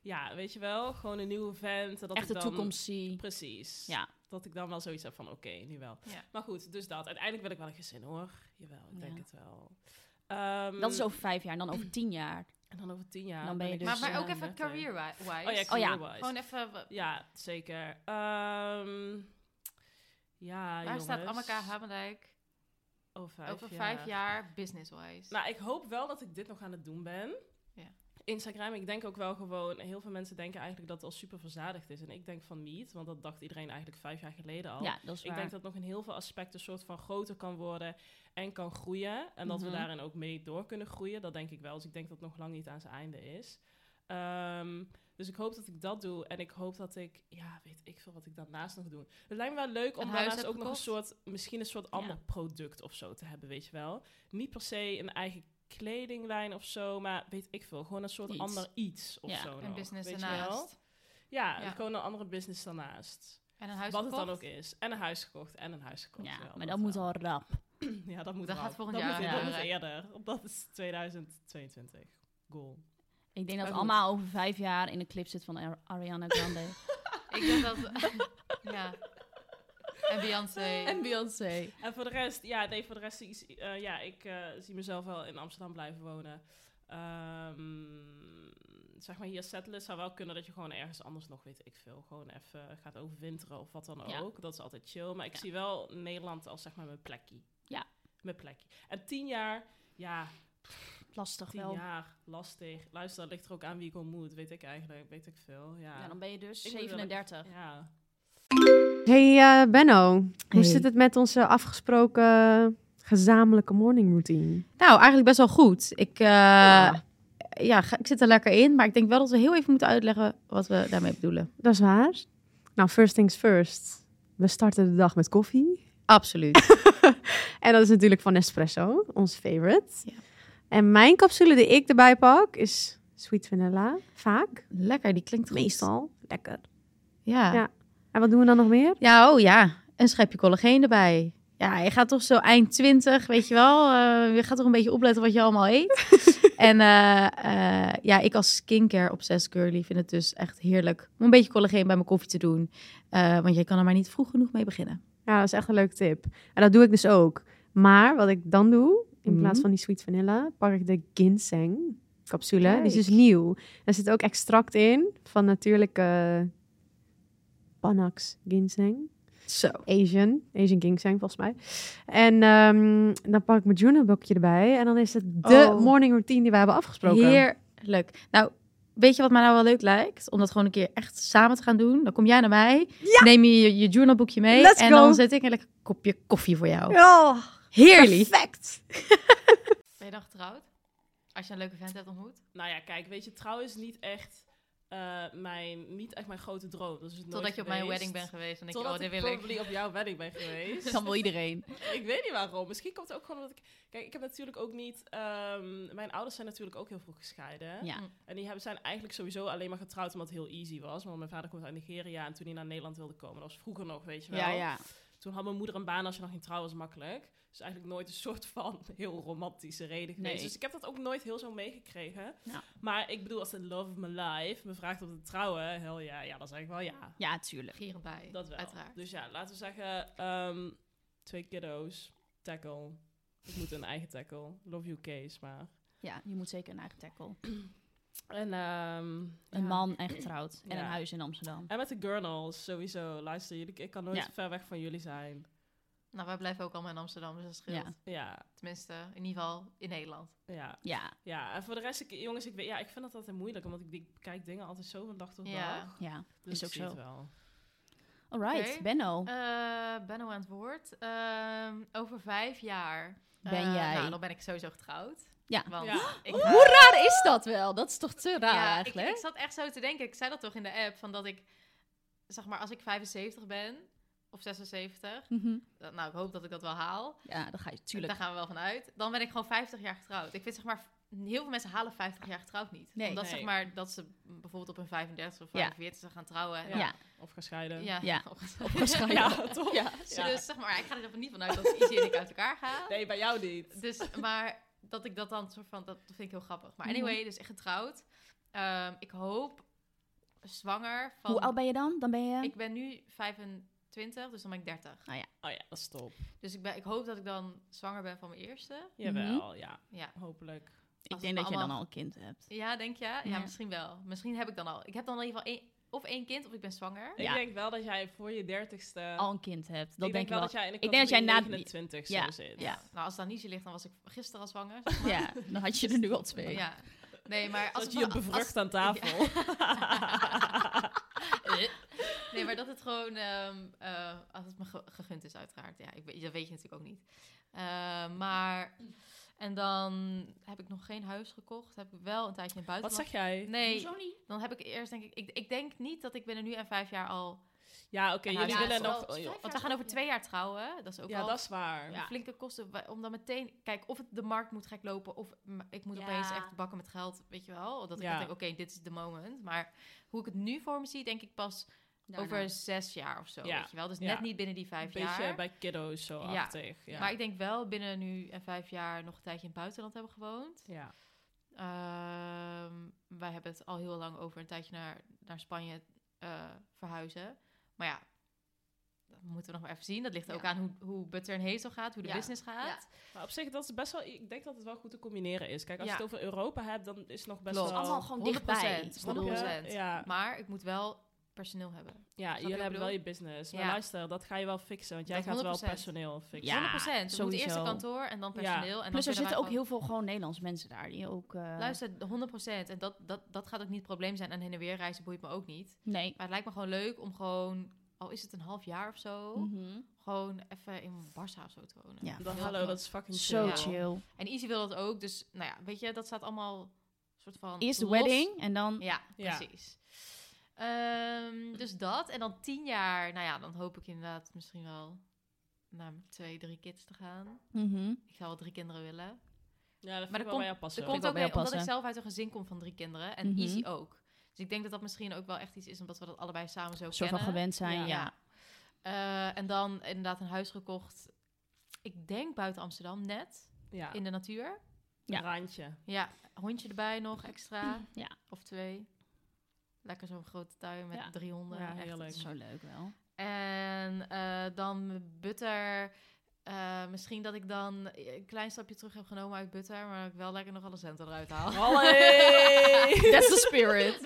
[SPEAKER 3] Ja, weet je wel, gewoon een nieuwe vent. en Dat
[SPEAKER 4] Echt
[SPEAKER 3] ik
[SPEAKER 4] de
[SPEAKER 3] dan, Mm.
[SPEAKER 4] toekomst zie.
[SPEAKER 3] Precies.
[SPEAKER 4] Ja.
[SPEAKER 3] Dat ik dan wel zoiets heb van, oké, nu wel.
[SPEAKER 2] Ja.
[SPEAKER 3] Maar goed, dus dat. Uiteindelijk wil ik wel een gezin, hoor. Jawel, ik denk
[SPEAKER 4] Ja.
[SPEAKER 3] het wel. Ehm,
[SPEAKER 4] Dat is over vijf jaar, dan over tien jaar.
[SPEAKER 3] En dan over tien jaar.
[SPEAKER 4] Dan ben je
[SPEAKER 3] ik
[SPEAKER 4] dus,
[SPEAKER 2] maar, maar ook
[SPEAKER 3] eh,
[SPEAKER 2] even
[SPEAKER 3] 30.
[SPEAKER 2] career-wise.
[SPEAKER 3] Oh ja,
[SPEAKER 4] Oh ja.
[SPEAKER 3] career-wise.
[SPEAKER 2] Gewoon even... wa-
[SPEAKER 3] Ja, zeker. Ehm, ja,
[SPEAKER 2] Waar staat
[SPEAKER 3] jongens.
[SPEAKER 2] Anneka Hamendijk
[SPEAKER 3] over vijf
[SPEAKER 2] over
[SPEAKER 3] jaar?
[SPEAKER 2] vijf jaar business-wise?
[SPEAKER 3] Nou, ik hoop wel dat ik dit nog aan het doen ben.
[SPEAKER 2] Ja.
[SPEAKER 3] Instagram, ik denk ook wel gewoon... Heel veel mensen denken eigenlijk dat het al super verzadigd is. En ik denk van niet, want dat dacht iedereen eigenlijk vijf jaar geleden al.
[SPEAKER 4] Ja, dat is
[SPEAKER 3] Oh, Ik
[SPEAKER 4] waar.
[SPEAKER 3] denk dat nog in heel veel aspecten een soort van groter kan worden en kan groeien. En dat
[SPEAKER 4] Mhm.
[SPEAKER 3] we daarin ook mee door kunnen groeien. Dat denk ik wel. Dus ik denk dat het nog lang niet aan zijn einde is. Ehm, dus ik hoop dat ik dat doe. En ik hoop dat ik, ja, weet ik veel wat ik daarnaast nog doe. Het lijkt me wel leuk
[SPEAKER 2] Een
[SPEAKER 3] om
[SPEAKER 2] huis
[SPEAKER 3] daarnaast
[SPEAKER 2] hebt
[SPEAKER 3] ook nog een
[SPEAKER 2] gekocht?
[SPEAKER 3] soort, misschien een soort ander product of zo te hebben, weet je wel. Niet per se een eigen kledinglijn of zo, maar weet ik veel. Gewoon een soort
[SPEAKER 4] Iets.
[SPEAKER 3] ander iets of
[SPEAKER 4] Ja.
[SPEAKER 3] zo.
[SPEAKER 2] een
[SPEAKER 3] nog,
[SPEAKER 2] business
[SPEAKER 3] weet je wel.
[SPEAKER 2] daarnaast.
[SPEAKER 3] Ja,
[SPEAKER 2] Ja.
[SPEAKER 3] gewoon een andere business daarnaast.
[SPEAKER 2] En een huis
[SPEAKER 3] Wat het dan ook
[SPEAKER 2] gekocht.
[SPEAKER 3] is. En een huis gekocht en een huis gekocht.
[SPEAKER 4] ja,
[SPEAKER 3] wel,
[SPEAKER 4] maar dat moet
[SPEAKER 3] wel.
[SPEAKER 4] al rap.
[SPEAKER 3] Ja, dat moet
[SPEAKER 2] Dat
[SPEAKER 3] wel.
[SPEAKER 2] gaat volgend jaar
[SPEAKER 3] Moet, dat moet
[SPEAKER 2] gebeuren.
[SPEAKER 3] eerder. Dat is 2022. Goal.
[SPEAKER 4] Ik denk dat
[SPEAKER 3] Maar goed.
[SPEAKER 4] Alma over vijf jaar in een clip zit van Ar- Ariana Grande.
[SPEAKER 2] Ik denk dat... ja. En Beyoncé.
[SPEAKER 4] en Beyoncé.
[SPEAKER 3] En voor de rest, ja, nee, voor de rest, is- eh, ja, ik eh, zie mezelf wel in Amsterdam blijven wonen. Ehm, zeg maar hier settelen zou wel kunnen dat je gewoon ergens anders nog, weet ik veel, gewoon even gaat overwinteren of wat dan
[SPEAKER 4] Ja.
[SPEAKER 3] ook. Dat is altijd chill. Maar ik
[SPEAKER 4] Ja.
[SPEAKER 3] zie wel Nederland als zeg maar mijn plekje.
[SPEAKER 4] Ja.
[SPEAKER 3] Mijn plekje. En tien jaar, ja,
[SPEAKER 4] Lastig
[SPEAKER 3] tien
[SPEAKER 4] wel. Ja.
[SPEAKER 3] jaar, lastig. Luister, dat ligt er ook aan wie ik ontmoet, weet ik eigenlijk, weet ik veel. Ja,
[SPEAKER 4] dan ben je dus
[SPEAKER 3] Ik moet wel-
[SPEAKER 4] 37.
[SPEAKER 3] ja.
[SPEAKER 5] Hey eh, Benno,
[SPEAKER 4] Hey.
[SPEAKER 5] hoe zit het met onze afgesproken gezamenlijke morning routine?
[SPEAKER 6] Nou, eigenlijk best wel goed. Ik, eh,
[SPEAKER 5] Ja.
[SPEAKER 6] ja, ga- ik zit er lekker in. Maar ik denk wel dat we heel even moeten uitleggen wat we daarmee bedoelen.
[SPEAKER 5] Dat is waar. Nou, first things first. We starten de dag met koffie.
[SPEAKER 6] Absoluut.
[SPEAKER 5] En dat is natuurlijk van Nespresso, ons favorite.
[SPEAKER 6] Ja.
[SPEAKER 5] En mijn capsule die ik erbij pak is sweet vanilla. Vaak.
[SPEAKER 6] lekker, die klinkt goed.
[SPEAKER 5] Meestal. Lekker.
[SPEAKER 6] Ja.
[SPEAKER 5] Ja.
[SPEAKER 6] ja.
[SPEAKER 5] En wat doen we dan nog meer?
[SPEAKER 6] oh ja. Een schepje collageen erbij. Ja, je gaat toch zo eind 20, weet je wel. eh, je gaat toch een beetje opletten wat je allemaal eet. en eh, eh, ja, ik als skincare obsessed girly vind het dus echt heerlijk om een beetje collageen bij mijn koffie te doen. Eh, want je kan er maar niet vroeg genoeg mee beginnen.
[SPEAKER 5] Ja, dat is echt een leuke tip. En dat doe ik dus ook. Maar wat ik dan doe, in
[SPEAKER 6] Mhm.
[SPEAKER 5] plaats van die sweet vanilla, pak ik de ginseng capsule. Die is dus
[SPEAKER 6] Kijk.
[SPEAKER 5] nieuw. Daar zit ook extract in van natuurlijke Panax ginseng.
[SPEAKER 6] Zo.
[SPEAKER 5] Asian. Asian ginseng volgens mij. En ehm, dan pak ik mijn journalboekje erbij. En dan is het de
[SPEAKER 6] Oh.
[SPEAKER 5] morning routine die we hebben afgesproken.
[SPEAKER 6] Heerlijk. Nou, weet je wat mij nou wel leuk lijkt? Om dat gewoon een keer echt samen te gaan doen. Dan kom jij naar mij, neem je je, je journalboekje mee
[SPEAKER 5] Let's
[SPEAKER 6] en
[SPEAKER 5] go.
[SPEAKER 6] dan zet ik een lekker kopje koffie voor jou.
[SPEAKER 5] Oh,
[SPEAKER 6] Heerlijk.
[SPEAKER 5] perfect.
[SPEAKER 2] Ben je dan getrouwd? Als je een leuke vent hebt ontmoet?
[SPEAKER 3] Nou ja, kijk, weet je, trouw is niet echt, eh, mijn, niet echt mijn grote droom. Dat is het nooit
[SPEAKER 2] Totdat je op mijn
[SPEAKER 3] geweest.
[SPEAKER 2] wedding bent geweest. En denk je,
[SPEAKER 3] Totdat
[SPEAKER 2] oh, dit
[SPEAKER 3] ik
[SPEAKER 2] wil ik.
[SPEAKER 3] probably op jouw wedding ben geweest.
[SPEAKER 4] Dan wil iedereen.
[SPEAKER 3] ik weet niet waarom. Misschien komt het ook gewoon omdat ik... Kijk, ik heb natuurlijk ook niet... ehm, mijn ouders zijn natuurlijk ook heel vroeg gescheiden.
[SPEAKER 4] Ja.
[SPEAKER 3] En die hebben, zijn eigenlijk sowieso alleen maar getrouwd omdat het heel easy was. Want mijn vader komt uit Nigeria en toen hij naar Nederland wilde komen. Dat was vroeger nog, weet je wel.
[SPEAKER 4] Ja, ja.
[SPEAKER 3] Toen had mijn moeder een baan als je nog ging trouwen, was makkelijk. Dus eigenlijk nooit een soort van heel romantische reden geweest.
[SPEAKER 4] Nee.
[SPEAKER 3] Dus ik heb dat ook nooit heel zo meegekregen.
[SPEAKER 4] Ja.
[SPEAKER 3] Maar ik bedoel, als de love of my life me vraagt om te trouwen, hel ja, ja, dan zeg ik wel ja.
[SPEAKER 4] Ja, tuurlijk.
[SPEAKER 2] Gierend bij.
[SPEAKER 3] Dat wel.
[SPEAKER 2] Uiteraard.
[SPEAKER 3] Dus ja, laten we zeggen, ehm, twee kiddo's, tackle. Ik moet een eigen tackle. Love you, case, maar...
[SPEAKER 4] Ja, je moet zeker een eigen tackle.
[SPEAKER 3] En, ehm,
[SPEAKER 4] Een
[SPEAKER 3] ja.
[SPEAKER 4] man en getrouwd. En
[SPEAKER 3] Ja.
[SPEAKER 4] een huis in Amsterdam.
[SPEAKER 3] En met de girls, sowieso. Luister, jullie, ik kan nooit
[SPEAKER 4] Ja.
[SPEAKER 3] ver weg van jullie zijn.
[SPEAKER 2] Nou, wij blijven ook allemaal in Amsterdam, dus dat scheelt.
[SPEAKER 4] Ja.
[SPEAKER 3] Ja,
[SPEAKER 2] Tenminste, in ieder geval in Nederland.
[SPEAKER 3] ja.
[SPEAKER 4] Ja,
[SPEAKER 3] Ja, en voor de rest, ik, jongens, ik, weet- ja, ik vind dat altijd moeilijk, omdat ik, die- ik kijk dingen altijd zo van dag tot
[SPEAKER 2] Ja.
[SPEAKER 3] dag.
[SPEAKER 4] ja.
[SPEAKER 3] Dus
[SPEAKER 4] Is
[SPEAKER 3] ik
[SPEAKER 4] ook
[SPEAKER 3] zie
[SPEAKER 4] zo.
[SPEAKER 3] het wel.
[SPEAKER 4] Alright,
[SPEAKER 2] Oké.
[SPEAKER 4] Benno.
[SPEAKER 2] Eh Benno aan het woord. Ehm, over vijf jaar... eh,
[SPEAKER 4] Ben jij-
[SPEAKER 2] Nou, dan ben ik sowieso getrouwd.
[SPEAKER 4] Ja.
[SPEAKER 2] Want
[SPEAKER 3] Ja.
[SPEAKER 2] ik,
[SPEAKER 4] Hoe raar is dat wel? Dat is toch te raar
[SPEAKER 2] ja, ik,
[SPEAKER 4] eigenlijk?
[SPEAKER 2] ik zat echt zo te denken. Ik zei dat toch in de app, van dat ik... Zeg maar, als ik 75 ben, of 76...
[SPEAKER 4] Mhm.
[SPEAKER 2] dat- Nou, ik hoop dat ik dat wel haal.
[SPEAKER 4] Ja, dan ga je tuurlijk.
[SPEAKER 2] Daar gaan we wel van uit. Dan ben ik gewoon 50 jaar getrouwd. Ik vind zeg maar, heel veel mensen halen 50 jaar getrouwd niet.
[SPEAKER 4] Nee.
[SPEAKER 2] Omdat
[SPEAKER 3] Nee.
[SPEAKER 2] zeg maar, dat ze bijvoorbeeld op hun 35 of
[SPEAKER 4] Ja.
[SPEAKER 2] 45 gaan trouwen. En
[SPEAKER 4] Ja,
[SPEAKER 2] dan-
[SPEAKER 4] ja.
[SPEAKER 3] Of gaan scheiden.
[SPEAKER 2] ja.
[SPEAKER 4] Ja.
[SPEAKER 2] Dus-
[SPEAKER 3] Ja, toch? Ja.
[SPEAKER 2] Dus zeg maar, ik ga er even niet vanuit dat Izzy en ik uit elkaar gaan.
[SPEAKER 3] Nee, bij jou niet.
[SPEAKER 2] Dus, maar dat ik dat dan soort van, dat vind ik heel grappig. Maar
[SPEAKER 4] Mhm.
[SPEAKER 2] anyway, dus echt getrouwd. Ehm, ik hoop zwanger van...
[SPEAKER 4] Hoe oud ben je dan? Dan ben je...
[SPEAKER 2] Ik ben nu 25, dus dan ben ik 30.
[SPEAKER 3] Oh ja, dat is top.
[SPEAKER 2] Dus ik, ben, ik hoop dat ik dan zwanger ben van mijn eerste.
[SPEAKER 3] Jawel, ja.
[SPEAKER 2] Ja,
[SPEAKER 3] Hopelijk.
[SPEAKER 4] ik
[SPEAKER 2] het
[SPEAKER 4] denk dat je
[SPEAKER 2] allemaal-
[SPEAKER 4] dan al een kind hebt.
[SPEAKER 2] Ja, denk je? Ja,
[SPEAKER 4] Ja.
[SPEAKER 2] misschien wel. Misschien heb ik dan al. Ik heb dan in ieder geval één, of één kind of ik ben zwanger.
[SPEAKER 4] Ja.
[SPEAKER 3] Ik denk wel dat jij voor je dertigste...
[SPEAKER 4] Al een kind hebt. Dat
[SPEAKER 3] ik
[SPEAKER 4] denk ik
[SPEAKER 3] wel
[SPEAKER 4] wel.
[SPEAKER 3] dat jij in de
[SPEAKER 4] Ik denk dat jij na-
[SPEAKER 3] categorie 29ste
[SPEAKER 4] Ja.
[SPEAKER 3] zit.
[SPEAKER 4] Ja.
[SPEAKER 2] Nou, als dat niet zo ligt, dan was ik gisteren al zwanger. Dus
[SPEAKER 4] Ja, dan had je er nu al twee.
[SPEAKER 2] Ja. Nee, maar als
[SPEAKER 3] Dat je
[SPEAKER 2] het
[SPEAKER 3] je
[SPEAKER 2] van- als-
[SPEAKER 3] bevrucht aan tafel.
[SPEAKER 2] Eh. nee, maar dat het gewoon, ehm, eh, als het me ge- gegund is uiteraard. Ja, ik, weet- dat weet je natuurlijk ook niet. Eh, maar, en dan heb ik nog geen huis gekocht. Heb ik wel een tijdje in het
[SPEAKER 3] Wat
[SPEAKER 2] buitenland.
[SPEAKER 3] zeg jij?
[SPEAKER 2] Nee,
[SPEAKER 4] Hoezo niet?
[SPEAKER 2] dan heb ik eerst denk ik, ik, ik denk niet dat ik binnen nu en vijf jaar al...
[SPEAKER 3] Ja, oké,
[SPEAKER 2] Ja,
[SPEAKER 3] jullie
[SPEAKER 2] ja,
[SPEAKER 3] willen
[SPEAKER 2] het is
[SPEAKER 3] nog...
[SPEAKER 4] wel-
[SPEAKER 3] oh, joh.
[SPEAKER 2] Want we gaan over twee jaar trouwen, dat is ook
[SPEAKER 3] Ja,
[SPEAKER 2] al
[SPEAKER 3] dat is waar.
[SPEAKER 2] Een flinke kosten wa- om dan meteen kijk of het de markt moet gek lopen of m- ik moet
[SPEAKER 4] Ja.
[SPEAKER 2] opeens echt bakken met geld weet je wel dat ik
[SPEAKER 3] Ja.
[SPEAKER 2] dan denk oké dit is de moment maar hoe ik het nu voor me zie denk ik pas over zes jaar of zo
[SPEAKER 3] Nou, Ja.
[SPEAKER 2] weet je wel dus
[SPEAKER 3] Ja.
[SPEAKER 2] net niet binnen die vijf
[SPEAKER 3] Een beetje
[SPEAKER 2] jaar
[SPEAKER 3] bij kiddo's zo
[SPEAKER 2] Ja.
[SPEAKER 3] achtig. Ja.
[SPEAKER 2] maar ik denk wel binnen nu en vijf jaar nog een tijdje in het buitenland hebben gewoond
[SPEAKER 3] ja.
[SPEAKER 2] Ehm, wij hebben het al heel lang over een tijdje naar, naar Spanje eh, verhuizen. Maar ja, dat moeten we nog maar even zien. Dat ligt ook
[SPEAKER 4] Ja.
[SPEAKER 2] aan hoe, hoe Butter en Hazel gaat, hoe de
[SPEAKER 4] Ja.
[SPEAKER 2] business gaat.
[SPEAKER 3] Maar op zich, dat is best wel, ik denk dat het wel goed te combineren is. Kijk, als je
[SPEAKER 2] Ja.
[SPEAKER 3] het over Europa hebt, dan is het nog best
[SPEAKER 2] Klopt.
[SPEAKER 3] wel...
[SPEAKER 4] allemaal gewoon
[SPEAKER 2] 100%,
[SPEAKER 4] dichtbij. Ik
[SPEAKER 2] snap
[SPEAKER 4] bedoel,
[SPEAKER 2] je?
[SPEAKER 4] eh,
[SPEAKER 3] 100%. Ja,
[SPEAKER 2] Maar ik moet wel personeel hebben.
[SPEAKER 3] ja
[SPEAKER 2] je wat
[SPEAKER 3] jullie
[SPEAKER 2] ik
[SPEAKER 3] hebben wel
[SPEAKER 2] bedoel?
[SPEAKER 3] je business. Maar
[SPEAKER 2] Ja.
[SPEAKER 3] luister, dat ga je wel fixen, want jij
[SPEAKER 2] Dat
[SPEAKER 3] gaat wel
[SPEAKER 2] 100%.
[SPEAKER 3] personeel fixen.
[SPEAKER 4] Ja,
[SPEAKER 2] 100%. We moeten
[SPEAKER 4] sowieso.
[SPEAKER 2] eerst een kantoor en dan
[SPEAKER 3] Ja.
[SPEAKER 2] personeel. En dan
[SPEAKER 4] Plus er
[SPEAKER 2] kunnen wij
[SPEAKER 4] zitten ook
[SPEAKER 2] gewoon-
[SPEAKER 4] heel veel gewoon Nederlandse mensen daar. Die ook... eh,
[SPEAKER 2] Luister, 100%. En dat, dat, dat gaat ook niet het probleem zijn. En heen en weer reizen boeit me ook niet.
[SPEAKER 4] Nee.
[SPEAKER 2] Maar het lijkt me gewoon leuk om gewoon, al is het een half jaar of zo,
[SPEAKER 4] Mhm.
[SPEAKER 2] gewoon even in Barça of zo te wonen.
[SPEAKER 4] Ja.
[SPEAKER 3] Dan,
[SPEAKER 2] Heel
[SPEAKER 3] hallo,
[SPEAKER 2] gewoon.
[SPEAKER 3] dat is fucking
[SPEAKER 4] Zo
[SPEAKER 3] chill.
[SPEAKER 2] Ja.
[SPEAKER 4] chill.
[SPEAKER 2] En Easy wil dat ook. Dus nou ja, weet je, dat staat allemaal soort van
[SPEAKER 4] Eerst de
[SPEAKER 2] los-
[SPEAKER 4] wedding en dan...
[SPEAKER 2] Ja,
[SPEAKER 3] Ja.
[SPEAKER 2] precies. Ehm, dus dat. En dan tien jaar, nou ja, dan hoop ik inderdaad misschien wel naar mijn twee, drie kids te gaan.
[SPEAKER 4] Mhm.
[SPEAKER 2] Ik zou wel drie kinderen willen.
[SPEAKER 3] Ja,
[SPEAKER 2] Maar
[SPEAKER 3] dat maar
[SPEAKER 2] er
[SPEAKER 3] dat
[SPEAKER 2] komt-
[SPEAKER 3] komt bij jou passen.
[SPEAKER 2] Dat komt
[SPEAKER 3] hoor.
[SPEAKER 4] wel
[SPEAKER 2] ook
[SPEAKER 4] bij
[SPEAKER 2] mee
[SPEAKER 4] jou
[SPEAKER 2] omdat ik
[SPEAKER 4] passen.
[SPEAKER 2] zelf uit een gezin kom van drie kinderen. En
[SPEAKER 4] Mhm.
[SPEAKER 2] Easy ook. Dus ik denk dat dat misschien ook wel echt iets is omdat we dat allebei samen zo
[SPEAKER 4] Een soort van
[SPEAKER 2] kennen.
[SPEAKER 4] gewend zijn, ja.
[SPEAKER 2] Ja. Eh, en dan inderdaad een huis gekocht. Ik denk buiten Amsterdam, net.
[SPEAKER 3] Ja,
[SPEAKER 2] In de natuur.
[SPEAKER 4] Ja.
[SPEAKER 3] randje.
[SPEAKER 2] Ja, hondje erbij nog extra.
[SPEAKER 4] Ja.
[SPEAKER 2] Of twee. Lekker zo'n grote tuin met
[SPEAKER 4] Ja.
[SPEAKER 2] drie honden.
[SPEAKER 3] Ja,
[SPEAKER 2] Echt, het
[SPEAKER 3] heerlijk.
[SPEAKER 2] is
[SPEAKER 4] Zo leuk wel.
[SPEAKER 2] en eh, dan butter. Eh, misschien dat ik dan een klein stapje terug heb genomen uit butter, maar dat ik wel lekker nog alle centen eruit haal.
[SPEAKER 3] Allee!
[SPEAKER 4] That's the spirit.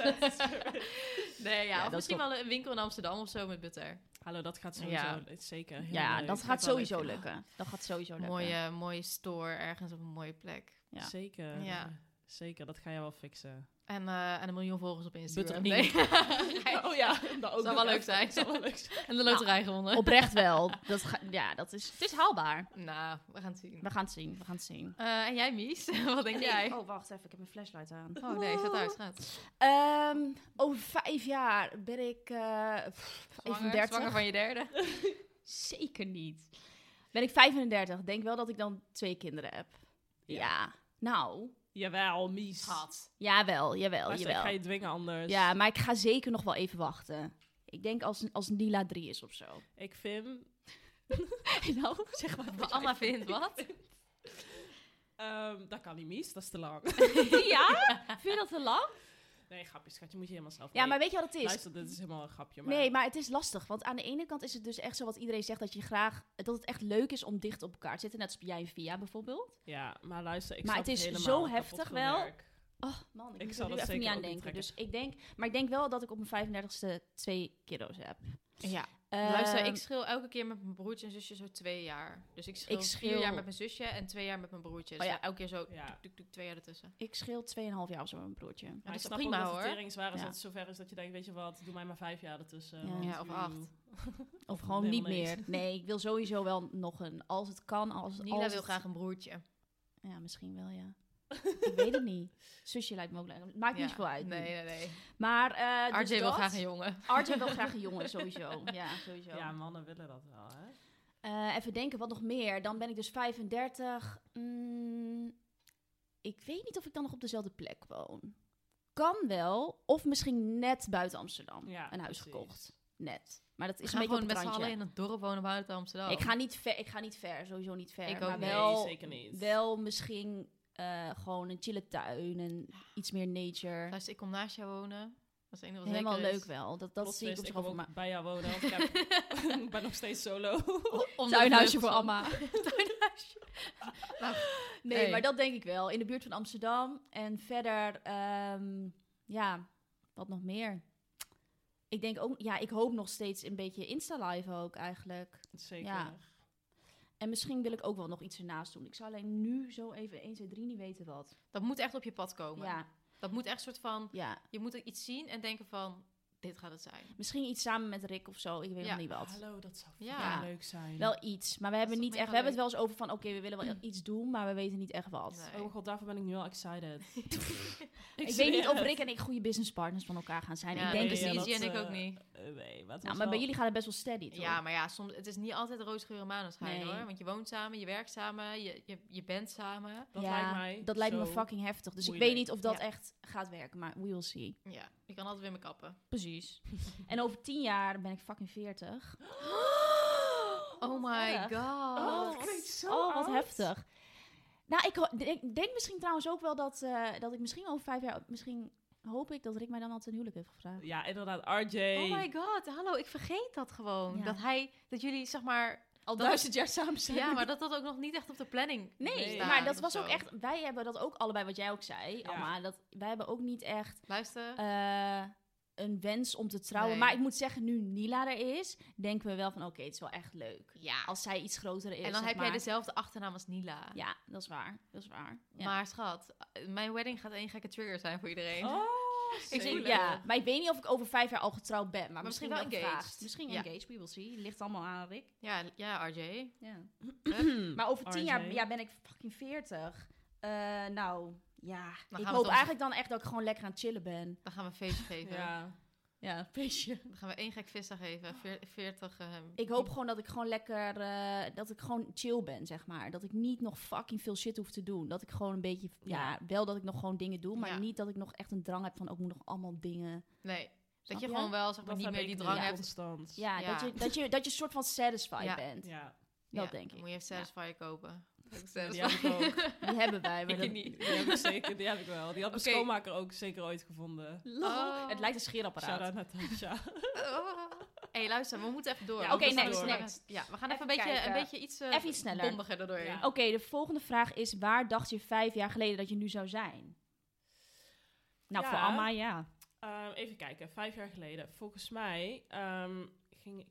[SPEAKER 2] nee, ja,
[SPEAKER 4] Ja,
[SPEAKER 2] of
[SPEAKER 4] dat
[SPEAKER 2] misschien
[SPEAKER 4] is
[SPEAKER 2] wel een winkel in Amsterdam of zo met butter.
[SPEAKER 3] Hallo, dat gaat sowieso
[SPEAKER 2] Ja.
[SPEAKER 3] dat is zeker. heel
[SPEAKER 4] ja,
[SPEAKER 3] leuk.
[SPEAKER 4] dat gaat
[SPEAKER 3] wel
[SPEAKER 4] sowieso
[SPEAKER 3] leuk.
[SPEAKER 4] lukken. Dat gaat sowieso lukken.
[SPEAKER 2] Mooie, mooie store ergens op een mooie plek.
[SPEAKER 4] Ja.
[SPEAKER 3] Zeker.
[SPEAKER 2] Ja.
[SPEAKER 3] Zeker, dat ga je wel fixen.
[SPEAKER 2] En, eh, en een miljoen volgers op Instagram.
[SPEAKER 3] Butter
[SPEAKER 2] Nee.
[SPEAKER 3] Oh ja, dat
[SPEAKER 2] Zou
[SPEAKER 3] ook nog
[SPEAKER 2] wel leuk
[SPEAKER 3] even.
[SPEAKER 2] zijn.
[SPEAKER 3] Zou wel leuk zijn.
[SPEAKER 2] en de
[SPEAKER 4] Nou.
[SPEAKER 2] loterij gewonnen.
[SPEAKER 4] Oprecht wel. Dat ga- ja, dat is, het is haalbaar.
[SPEAKER 2] Nou, we gaan het zien.
[SPEAKER 4] We gaan het zien, we gaan het zien.
[SPEAKER 2] Eh, en jij, Mies? Wat denk jij?
[SPEAKER 4] Oh, wacht even, ik heb mijn flashlight aan.
[SPEAKER 2] Oh nee, zet uit, gaat.
[SPEAKER 4] Ehm, over vijf jaar ben ik eh pff,
[SPEAKER 2] Zwanger,
[SPEAKER 4] 35.
[SPEAKER 2] zwanger van je derde.
[SPEAKER 4] Zeker niet. Ben ik 35. Denk wel dat ik dan twee kinderen heb. Ja. Nou,
[SPEAKER 3] Jawel, mies.
[SPEAKER 2] Schat.
[SPEAKER 4] jawel, jawel,
[SPEAKER 3] Luister, ik
[SPEAKER 4] jawel.
[SPEAKER 3] ga je dwingen
[SPEAKER 2] dus.
[SPEAKER 3] anders.
[SPEAKER 4] Ja, maar ik ga zeker nog wel even wachten. Ik denk als, als Nila 3 is of zo.
[SPEAKER 3] Ik vind...
[SPEAKER 4] nou, zeg maar.
[SPEAKER 2] Wat Anna vindt, wat?
[SPEAKER 3] ehm, dat kan niet mies, dat is te lang.
[SPEAKER 4] ja? Vind je dat te lang?
[SPEAKER 3] Nee, grapje, schatje, moet je helemaal zelf
[SPEAKER 4] Ja,
[SPEAKER 3] Nee,
[SPEAKER 4] maar weet je wat het is?
[SPEAKER 3] Luister, dit is helemaal een grapje. Maar...
[SPEAKER 4] Nee, maar het is lastig. Want aan de ene kant is het dus echt zo wat iedereen zegt dat je graag dat het echt leuk is om dicht op elkaar te zitten. Net als jij en Via bijvoorbeeld.
[SPEAKER 3] Ja, maar luister, ik
[SPEAKER 4] Maar
[SPEAKER 3] snap
[SPEAKER 4] het is
[SPEAKER 3] helemaal,
[SPEAKER 4] zo
[SPEAKER 3] kapot
[SPEAKER 4] heftig
[SPEAKER 3] veel
[SPEAKER 4] wel.
[SPEAKER 3] werk.
[SPEAKER 4] Oh man, ik,
[SPEAKER 3] Ik
[SPEAKER 4] moet
[SPEAKER 3] zal
[SPEAKER 4] er nu
[SPEAKER 3] dat
[SPEAKER 4] even
[SPEAKER 3] zeker
[SPEAKER 4] niet aan
[SPEAKER 3] ook niet
[SPEAKER 4] denken. Dus
[SPEAKER 3] trekken.
[SPEAKER 4] ik denk, maar ik denk wel dat ik op mijn 35ste twee kilo's heb.
[SPEAKER 2] Ja.
[SPEAKER 4] Ehm,
[SPEAKER 2] Luister, ik schil elke keer met mijn broertje en zusje zo twee jaar. Dus ik schil,
[SPEAKER 4] Ik
[SPEAKER 2] vier
[SPEAKER 4] schil-
[SPEAKER 2] jaar met mijn zusje en twee jaar met mijn broertje. Dus
[SPEAKER 4] Oh ja.
[SPEAKER 2] ja, elke keer zo
[SPEAKER 3] Ja.
[SPEAKER 2] tuk, tuk, twee jaar ertussen.
[SPEAKER 4] ik scheel 2,5 jaar of zo met mijn broertje.
[SPEAKER 3] Maar
[SPEAKER 2] dat
[SPEAKER 3] ik
[SPEAKER 2] is
[SPEAKER 3] snap
[SPEAKER 2] prima,
[SPEAKER 3] ook dat
[SPEAKER 2] hoor.
[SPEAKER 3] het tering zwaar is
[SPEAKER 4] Ja.
[SPEAKER 3] dat het zover is dat je denkt, weet je wat, doe mij maar vijf jaar ertussen.
[SPEAKER 4] Ja.
[SPEAKER 3] want mm.
[SPEAKER 2] Ja, of
[SPEAKER 3] joe.
[SPEAKER 2] acht.
[SPEAKER 4] Of gewoon niet
[SPEAKER 3] helemaal niks.
[SPEAKER 4] meer. Nee, ik wil sowieso wel nog een. Als het kan, als het
[SPEAKER 2] Nila
[SPEAKER 4] als
[SPEAKER 2] wil
[SPEAKER 4] het-
[SPEAKER 2] graag een broertje.
[SPEAKER 4] Ja, misschien wel, ja. ik weet het niet. Zusje lijkt me ook leuk. Maakt niet
[SPEAKER 2] Ja.
[SPEAKER 4] veel uit.
[SPEAKER 2] Nee,
[SPEAKER 4] Nee.
[SPEAKER 2] nee, nee.
[SPEAKER 4] Maar eh
[SPEAKER 2] RJ
[SPEAKER 4] dus
[SPEAKER 2] wil
[SPEAKER 4] dat.
[SPEAKER 2] graag een jongen.
[SPEAKER 4] RJ wil graag een jongen, sowieso. Ja, sowieso.
[SPEAKER 3] Ja, mannen willen dat wel, hè?
[SPEAKER 4] Eh, even denken, wat nog meer? Dan ben ik dus 35. Mm, ik weet niet of ik dan nog op dezelfde plek woon. Kan wel, of misschien net buiten Amsterdam.
[SPEAKER 3] Ja,
[SPEAKER 4] een huis
[SPEAKER 3] precies.
[SPEAKER 4] gekocht. Net. Maar dat
[SPEAKER 2] Ik
[SPEAKER 4] is
[SPEAKER 2] ga
[SPEAKER 4] een beetje
[SPEAKER 2] gewoon met
[SPEAKER 4] op het
[SPEAKER 2] z'n allen
[SPEAKER 4] randje.
[SPEAKER 2] in het dorp wonen buiten Amsterdam.
[SPEAKER 4] Ik ga, niet ver, ik ga niet ver, sowieso niet ver.
[SPEAKER 2] Ik ook
[SPEAKER 4] maar
[SPEAKER 2] niet.
[SPEAKER 4] wel,
[SPEAKER 3] Nee, zeker niet.
[SPEAKER 4] wel misschien eh, gewoon een chille tuin en iets meer nature.
[SPEAKER 2] Luister, ik kom naast jou wonen. Dat is het enige wat
[SPEAKER 4] Helemaal
[SPEAKER 2] zeker
[SPEAKER 4] leuk
[SPEAKER 2] is.
[SPEAKER 4] wel. Dat, dat
[SPEAKER 3] Plot
[SPEAKER 4] zie ik
[SPEAKER 3] twist,
[SPEAKER 4] op zich
[SPEAKER 3] kom
[SPEAKER 4] wel voor
[SPEAKER 3] ook
[SPEAKER 4] me.
[SPEAKER 3] bij jou wonen, want ik heb- ik ben nog steeds solo.
[SPEAKER 2] Om de
[SPEAKER 4] Tuinhuisje
[SPEAKER 2] vleugels
[SPEAKER 4] voor
[SPEAKER 2] van-
[SPEAKER 4] Amma. Tuinhuisje.
[SPEAKER 2] Nou,
[SPEAKER 4] nee,
[SPEAKER 2] hey.
[SPEAKER 4] maar dat denk ik wel. In de buurt van Amsterdam. En verder, ehm, ja, wat nog meer? Ik denk ook, ja, ik hoop nog steeds een beetje Insta-live ook eigenlijk.
[SPEAKER 3] Zeker.
[SPEAKER 4] Ja. En misschien wil ik ook wel nog iets ernaast doen. Ik zou alleen nu zo even 1, 2, 3 niet weten wat.
[SPEAKER 2] Dat moet echt op je pad
[SPEAKER 3] Oh
[SPEAKER 2] komen.
[SPEAKER 4] Ja,
[SPEAKER 2] Dat moet echt soort van...
[SPEAKER 4] ja.
[SPEAKER 2] Je moet er iets zien en denken van... Dit gaat het zijn.
[SPEAKER 4] Misschien iets samen met Rick of zo. Ik weet
[SPEAKER 2] Ja,
[SPEAKER 4] nog niet wat.
[SPEAKER 3] Hallo, dat zou
[SPEAKER 2] Ja.
[SPEAKER 3] fucking leuk zijn.
[SPEAKER 4] Wel iets. Maar we hebben
[SPEAKER 2] is
[SPEAKER 4] niet
[SPEAKER 2] toch
[SPEAKER 4] echt. We hebben het
[SPEAKER 2] mega
[SPEAKER 4] wel eens over van oké, we willen wel iets doen, maar we weten niet echt wat.
[SPEAKER 2] Nee.
[SPEAKER 3] Oh mijn god, daarvoor ben ik nu al excited.
[SPEAKER 4] Ik, weet niet of Rick en ik goede businesspartners van elkaar gaan zijn.
[SPEAKER 2] Ja,
[SPEAKER 4] ik
[SPEAKER 3] nee,
[SPEAKER 4] denk het
[SPEAKER 3] ja,
[SPEAKER 4] niet.
[SPEAKER 2] precies.
[SPEAKER 3] dat,
[SPEAKER 2] en ik
[SPEAKER 3] eh,
[SPEAKER 2] ook niet.
[SPEAKER 3] Eh, nee, maar het was
[SPEAKER 4] Nou, maar bij
[SPEAKER 3] wel-
[SPEAKER 4] jullie gaat het best wel steady, toch?
[SPEAKER 2] Ja, maar ja, soms, het is niet altijd roosgeur en maneschijn
[SPEAKER 4] Nee.
[SPEAKER 2] hoor. Want je woont samen, je werkt samen, je, je, je bent samen.
[SPEAKER 3] Dat
[SPEAKER 4] Ja,
[SPEAKER 3] lijkt mij
[SPEAKER 4] Dat lijkt me
[SPEAKER 3] zo
[SPEAKER 4] fucking heftig. Dus ik
[SPEAKER 3] moeilijk.
[SPEAKER 4] weet niet of dat
[SPEAKER 2] Ja.
[SPEAKER 4] echt gaat werken, maar we will see.
[SPEAKER 2] Ja, je kan altijd weer me kappen.
[SPEAKER 4] Oh, Precies. en over tien jaar ben ik fucking 40.
[SPEAKER 2] Oh,
[SPEAKER 4] wat
[SPEAKER 2] my
[SPEAKER 4] erg.
[SPEAKER 2] god.
[SPEAKER 3] Oh, dat klinkt zo
[SPEAKER 4] Oh, wat
[SPEAKER 3] oud.
[SPEAKER 4] heftig. Nou, ik ho- denk, denk misschien trouwens ook wel dat, eh, dat ik misschien over vijf jaar... Misschien hoop ik dat Rick mij dan al ten huwelijk heeft gevraagd.
[SPEAKER 3] Ja, inderdaad, RJ.
[SPEAKER 2] Oh my god, hallo, ik vergeet dat gewoon.
[SPEAKER 4] Ja.
[SPEAKER 2] Dat hij, dat jullie zeg maar...
[SPEAKER 4] Al
[SPEAKER 2] Dat-
[SPEAKER 4] duizend jaar samen zijn.
[SPEAKER 2] Ja, maar dat dat ook nog niet echt op de planning
[SPEAKER 4] Nee,
[SPEAKER 3] Nee.
[SPEAKER 4] maar
[SPEAKER 2] staat
[SPEAKER 4] dat
[SPEAKER 2] of
[SPEAKER 4] was
[SPEAKER 2] zo.
[SPEAKER 4] ook echt... Wij hebben dat ook allebei, wat jij ook zei,
[SPEAKER 3] Ja.
[SPEAKER 4] Amma, Dat, wij hebben ook niet echt
[SPEAKER 2] Luister,
[SPEAKER 4] eh, een wens om te trouwen.
[SPEAKER 2] Nee.
[SPEAKER 4] Maar ik moet zeggen, nu Nila er is, denken we wel van... Oké, het is wel echt leuk.
[SPEAKER 2] ja.
[SPEAKER 4] Als zij iets groter is,
[SPEAKER 2] en dan
[SPEAKER 4] zeg
[SPEAKER 2] heb jij dus-
[SPEAKER 4] maar.
[SPEAKER 2] dezelfde achternaam als Nila.
[SPEAKER 4] Ja, dat is waar. Dat is waar. Ja.
[SPEAKER 2] Maar schat, mijn wedding gaat één gekke trigger zijn voor iedereen.
[SPEAKER 3] Oh,
[SPEAKER 2] Ik
[SPEAKER 4] ik
[SPEAKER 2] denk,
[SPEAKER 4] denk,
[SPEAKER 3] zeker.
[SPEAKER 4] ja, maar ik weet niet of ik over vijf jaar al getrouwd ben. Maar,
[SPEAKER 2] misschien
[SPEAKER 4] misschien,
[SPEAKER 2] wel
[SPEAKER 4] wel
[SPEAKER 2] engaged.
[SPEAKER 4] gevraagd. Misschien
[SPEAKER 2] Ja.
[SPEAKER 4] engaged, we will see. Ligt allemaal aan Rick.
[SPEAKER 2] Ja, ja, RJ.
[SPEAKER 4] Maar over tien
[SPEAKER 3] RJ.
[SPEAKER 4] jaar ja, ben ik fucking veertig. Eh, nou, Ja,
[SPEAKER 2] Dan
[SPEAKER 4] ik
[SPEAKER 2] gaan we
[SPEAKER 4] hoop
[SPEAKER 2] toch-
[SPEAKER 4] eigenlijk dan echt dat ik gewoon lekker aan het chillen ben.
[SPEAKER 2] Dan gaan we een feestje geven.
[SPEAKER 3] Ja.
[SPEAKER 4] Ja, een feestje.
[SPEAKER 2] Dan gaan we één gek visdag geven. Veer- 40. eh,
[SPEAKER 4] Ik hoop gewoon dat ik gewoon lekker, eh, dat ik gewoon chill ben, zeg maar. Dat ik niet nog fucking veel shit hoef te doen. Dat ik gewoon een beetje, ja, wel dat ik nog gewoon dingen doe, maar
[SPEAKER 2] Ja.
[SPEAKER 4] niet dat ik nog echt een drang heb van, ook moet nog allemaal dingen.
[SPEAKER 2] Nee.
[SPEAKER 4] Snap
[SPEAKER 2] Dat je
[SPEAKER 4] je?
[SPEAKER 2] gewoon wel zeg maar,
[SPEAKER 3] Dat
[SPEAKER 2] niet
[SPEAKER 3] heb
[SPEAKER 2] meer
[SPEAKER 3] ik
[SPEAKER 2] die
[SPEAKER 3] nu
[SPEAKER 2] drang
[SPEAKER 4] ja.
[SPEAKER 2] hebt.
[SPEAKER 3] constant.
[SPEAKER 4] Ja,
[SPEAKER 2] Ja.
[SPEAKER 4] Dat, je, dat, je, dat je soort van satisfied
[SPEAKER 2] Ja.
[SPEAKER 4] bent.
[SPEAKER 3] Ja.
[SPEAKER 4] Dat
[SPEAKER 2] Ja,
[SPEAKER 4] denk
[SPEAKER 2] dan
[SPEAKER 4] ik.
[SPEAKER 2] moet je even Satisfy kopen.
[SPEAKER 3] Die heb ik ook.
[SPEAKER 4] Die hebben wij. maar
[SPEAKER 2] Ik
[SPEAKER 4] dat-
[SPEAKER 2] niet.
[SPEAKER 3] Die heb ik zeker, die heb ik wel. Die had mijn
[SPEAKER 2] Oké.
[SPEAKER 3] schoonmaker ook zeker ooit gevonden.
[SPEAKER 4] Lol.
[SPEAKER 2] Oh.
[SPEAKER 4] Het lijkt
[SPEAKER 3] Shout
[SPEAKER 4] een scheerapparaat.
[SPEAKER 3] out Natasha.
[SPEAKER 2] Hé, hey, luister, we moeten even door.
[SPEAKER 4] Ja,
[SPEAKER 2] want
[SPEAKER 4] oké,
[SPEAKER 2] we gaan
[SPEAKER 4] next,
[SPEAKER 2] door.
[SPEAKER 4] next.
[SPEAKER 2] Ja, we gaan even,
[SPEAKER 4] Even
[SPEAKER 2] een, beetje,
[SPEAKER 4] kijken.
[SPEAKER 2] een beetje iets, eh,
[SPEAKER 4] Even iets sneller.
[SPEAKER 2] bondiger erdoorheen.
[SPEAKER 3] Ja.
[SPEAKER 4] Oké, de volgende vraag is: waar dacht je vijf jaar geleden dat je nu zou zijn? Nou,
[SPEAKER 3] Ja.
[SPEAKER 4] voor Amma, ja.
[SPEAKER 3] Ehm, even kijken, vijf jaar geleden. Volgens mij ehm, ging ik,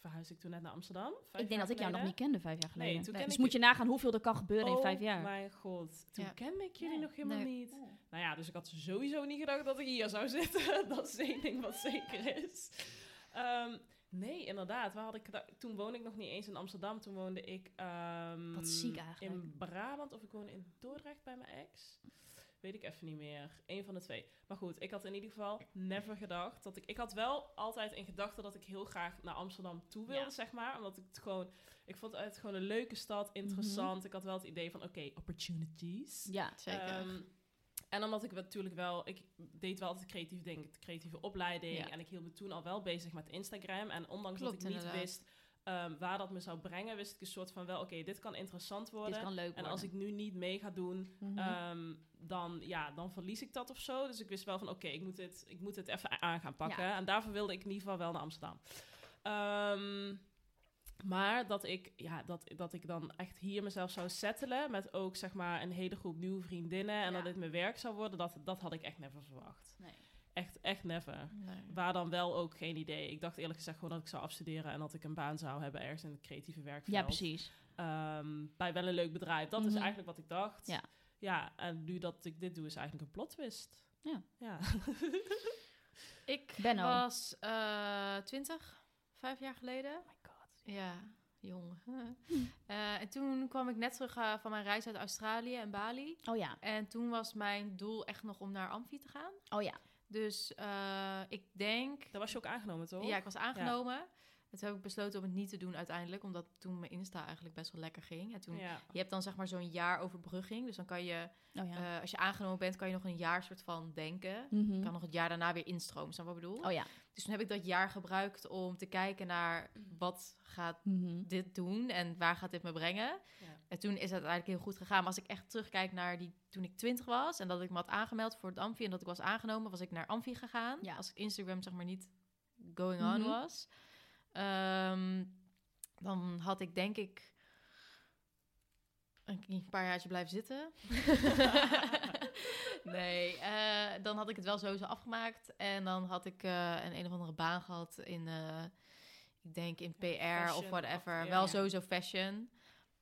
[SPEAKER 3] verhuis ik toen net naar Amsterdam. Vijf
[SPEAKER 4] ik denk dat ik jou nog niet kende vijf jaar geleden.
[SPEAKER 3] Nee, toen ken
[SPEAKER 4] dus
[SPEAKER 3] ik
[SPEAKER 4] moet
[SPEAKER 3] je-
[SPEAKER 4] je nagaan hoeveel er kan gebeuren
[SPEAKER 3] Oh
[SPEAKER 4] in vijf jaar.
[SPEAKER 3] mijn god, toen
[SPEAKER 2] Ja.
[SPEAKER 3] kende ik jullie
[SPEAKER 4] Nee. Oh.
[SPEAKER 3] nog helemaal
[SPEAKER 2] Nee.
[SPEAKER 3] niet. Nou ja, dus ik had sowieso niet gedacht dat ik hier zou zitten. dat is één ding wat zeker is. Ehm, nee, inderdaad. Waar had ik gedacht- toen woonde ik nog niet eens in Amsterdam. Toen woonde ik ehm,
[SPEAKER 2] Wat ziek eigenlijk.
[SPEAKER 3] in Brabant of ik woonde in Dordrecht bij mijn ex. Weet ik even niet meer. Eén van de twee. Maar goed, ik had in ieder geval never gedacht dat ik... Ik had wel altijd in gedachten dat ik heel graag naar Amsterdam toe wilde,
[SPEAKER 2] Ja.
[SPEAKER 3] zeg maar. Omdat ik het gewoon... Ik vond het gewoon een leuke stad,
[SPEAKER 2] Mhm.
[SPEAKER 3] interessant. Ik had wel het idee van, oké, opportunities.
[SPEAKER 4] Ja.
[SPEAKER 2] Zeker.
[SPEAKER 3] Ehm, en omdat ik natuurlijk wel, ik deed wel altijd creatief denken, de creatieve opleiding.
[SPEAKER 2] Ja.
[SPEAKER 3] En ik hield me toen al wel bezig met Instagram. En ondanks
[SPEAKER 2] Klopt,
[SPEAKER 3] dat ik niet
[SPEAKER 2] inderdaad.
[SPEAKER 3] wist ehm, waar dat me zou brengen, wist ik een soort van wel, oké, dit kan interessant worden.
[SPEAKER 4] Dit kan leuk worden.
[SPEAKER 3] en als ik nu niet mee ga doen,
[SPEAKER 4] Mhm.
[SPEAKER 3] ehm, dan, ja, dan verlies ik dat of zo. Dus ik wist wel van, oké, ik moet dit, ik moet dit even a- aan gaan pakken. En daarvoor wilde ik in ieder geval wel naar Amsterdam. Ehm, maar dat ik, ja, dat, dat ik dan echt hier mezelf zou settelen met ook zeg maar een hele groep nieuwe vriendinnen en
[SPEAKER 4] Ja.
[SPEAKER 3] dat dit mijn werk zou worden, dat, dat had ik echt never verwacht.
[SPEAKER 4] Nee.
[SPEAKER 3] Echt, echt never.
[SPEAKER 2] Nee.
[SPEAKER 3] Waar dan wel ook geen idee. Ik dacht eerlijk gezegd gewoon dat ik zou afstuderen en dat ik een baan zou hebben ergens in het creatieve werkveld.
[SPEAKER 4] ja, precies.
[SPEAKER 3] Ehm, bij wel een leuk bedrijf. Dat is
[SPEAKER 4] Mhm.
[SPEAKER 3] eigenlijk wat ik dacht.
[SPEAKER 4] Ja.
[SPEAKER 3] ja, en nu dat ik dit doe is eigenlijk een plot twist.
[SPEAKER 4] Ja.
[SPEAKER 3] ja.
[SPEAKER 2] Ik
[SPEAKER 4] Benno.
[SPEAKER 2] was eh 20, vijf jaar geleden.
[SPEAKER 4] Oh my god.
[SPEAKER 2] Ja, jong. Eh, en toen kwam ik net terug eh, van mijn reis uit Australië en Bali.
[SPEAKER 4] Oh ja,
[SPEAKER 2] En toen was mijn doel echt nog om naar Amfi te gaan.
[SPEAKER 4] oh ja.
[SPEAKER 2] Dus eh, ik denk...
[SPEAKER 3] Daar was je ook aangenomen, toch?
[SPEAKER 2] Ja, ik was aangenomen. En toen heb ik besloten om het niet te doen uiteindelijk. Omdat toen mijn Insta eigenlijk best wel lekker ging. En toen...
[SPEAKER 3] Ja.
[SPEAKER 2] Je hebt dan zeg maar zo'n jaar overbrugging. Dus dan kan je,
[SPEAKER 4] Oh ja.
[SPEAKER 2] eh, als je aangenomen bent, kan je nog een jaar soort van denken.
[SPEAKER 4] Mhm.
[SPEAKER 2] Kan nog het jaar daarna weer instromen, snap je wat ik bedoel?
[SPEAKER 4] Oh ja.
[SPEAKER 2] Dus toen heb ik dat jaar gebruikt om te kijken naar wat gaat
[SPEAKER 4] Mhm.
[SPEAKER 2] dit doen en waar gaat dit me brengen.
[SPEAKER 3] Ja.
[SPEAKER 2] En toen is het eigenlijk heel goed gegaan. Maar als ik echt terugkijk naar die, toen ik twintig was en dat ik me had aangemeld voor het Amfi en dat ik was aangenomen, was ik naar Amfi gegaan.
[SPEAKER 4] Ja.
[SPEAKER 2] Als ik Instagram zeg maar niet going on
[SPEAKER 4] Mhm.
[SPEAKER 2] was, Ehm, dan had ik denk ik een een paar jaartje blijven zitten. nee, eh, dan had ik het wel sowieso afgemaakt. En dan had ik eh, een een of andere baan gehad in, eh, ik denk in PR of
[SPEAKER 3] fashion,
[SPEAKER 2] whatever.
[SPEAKER 3] of- ja.
[SPEAKER 2] Wel sowieso fashion.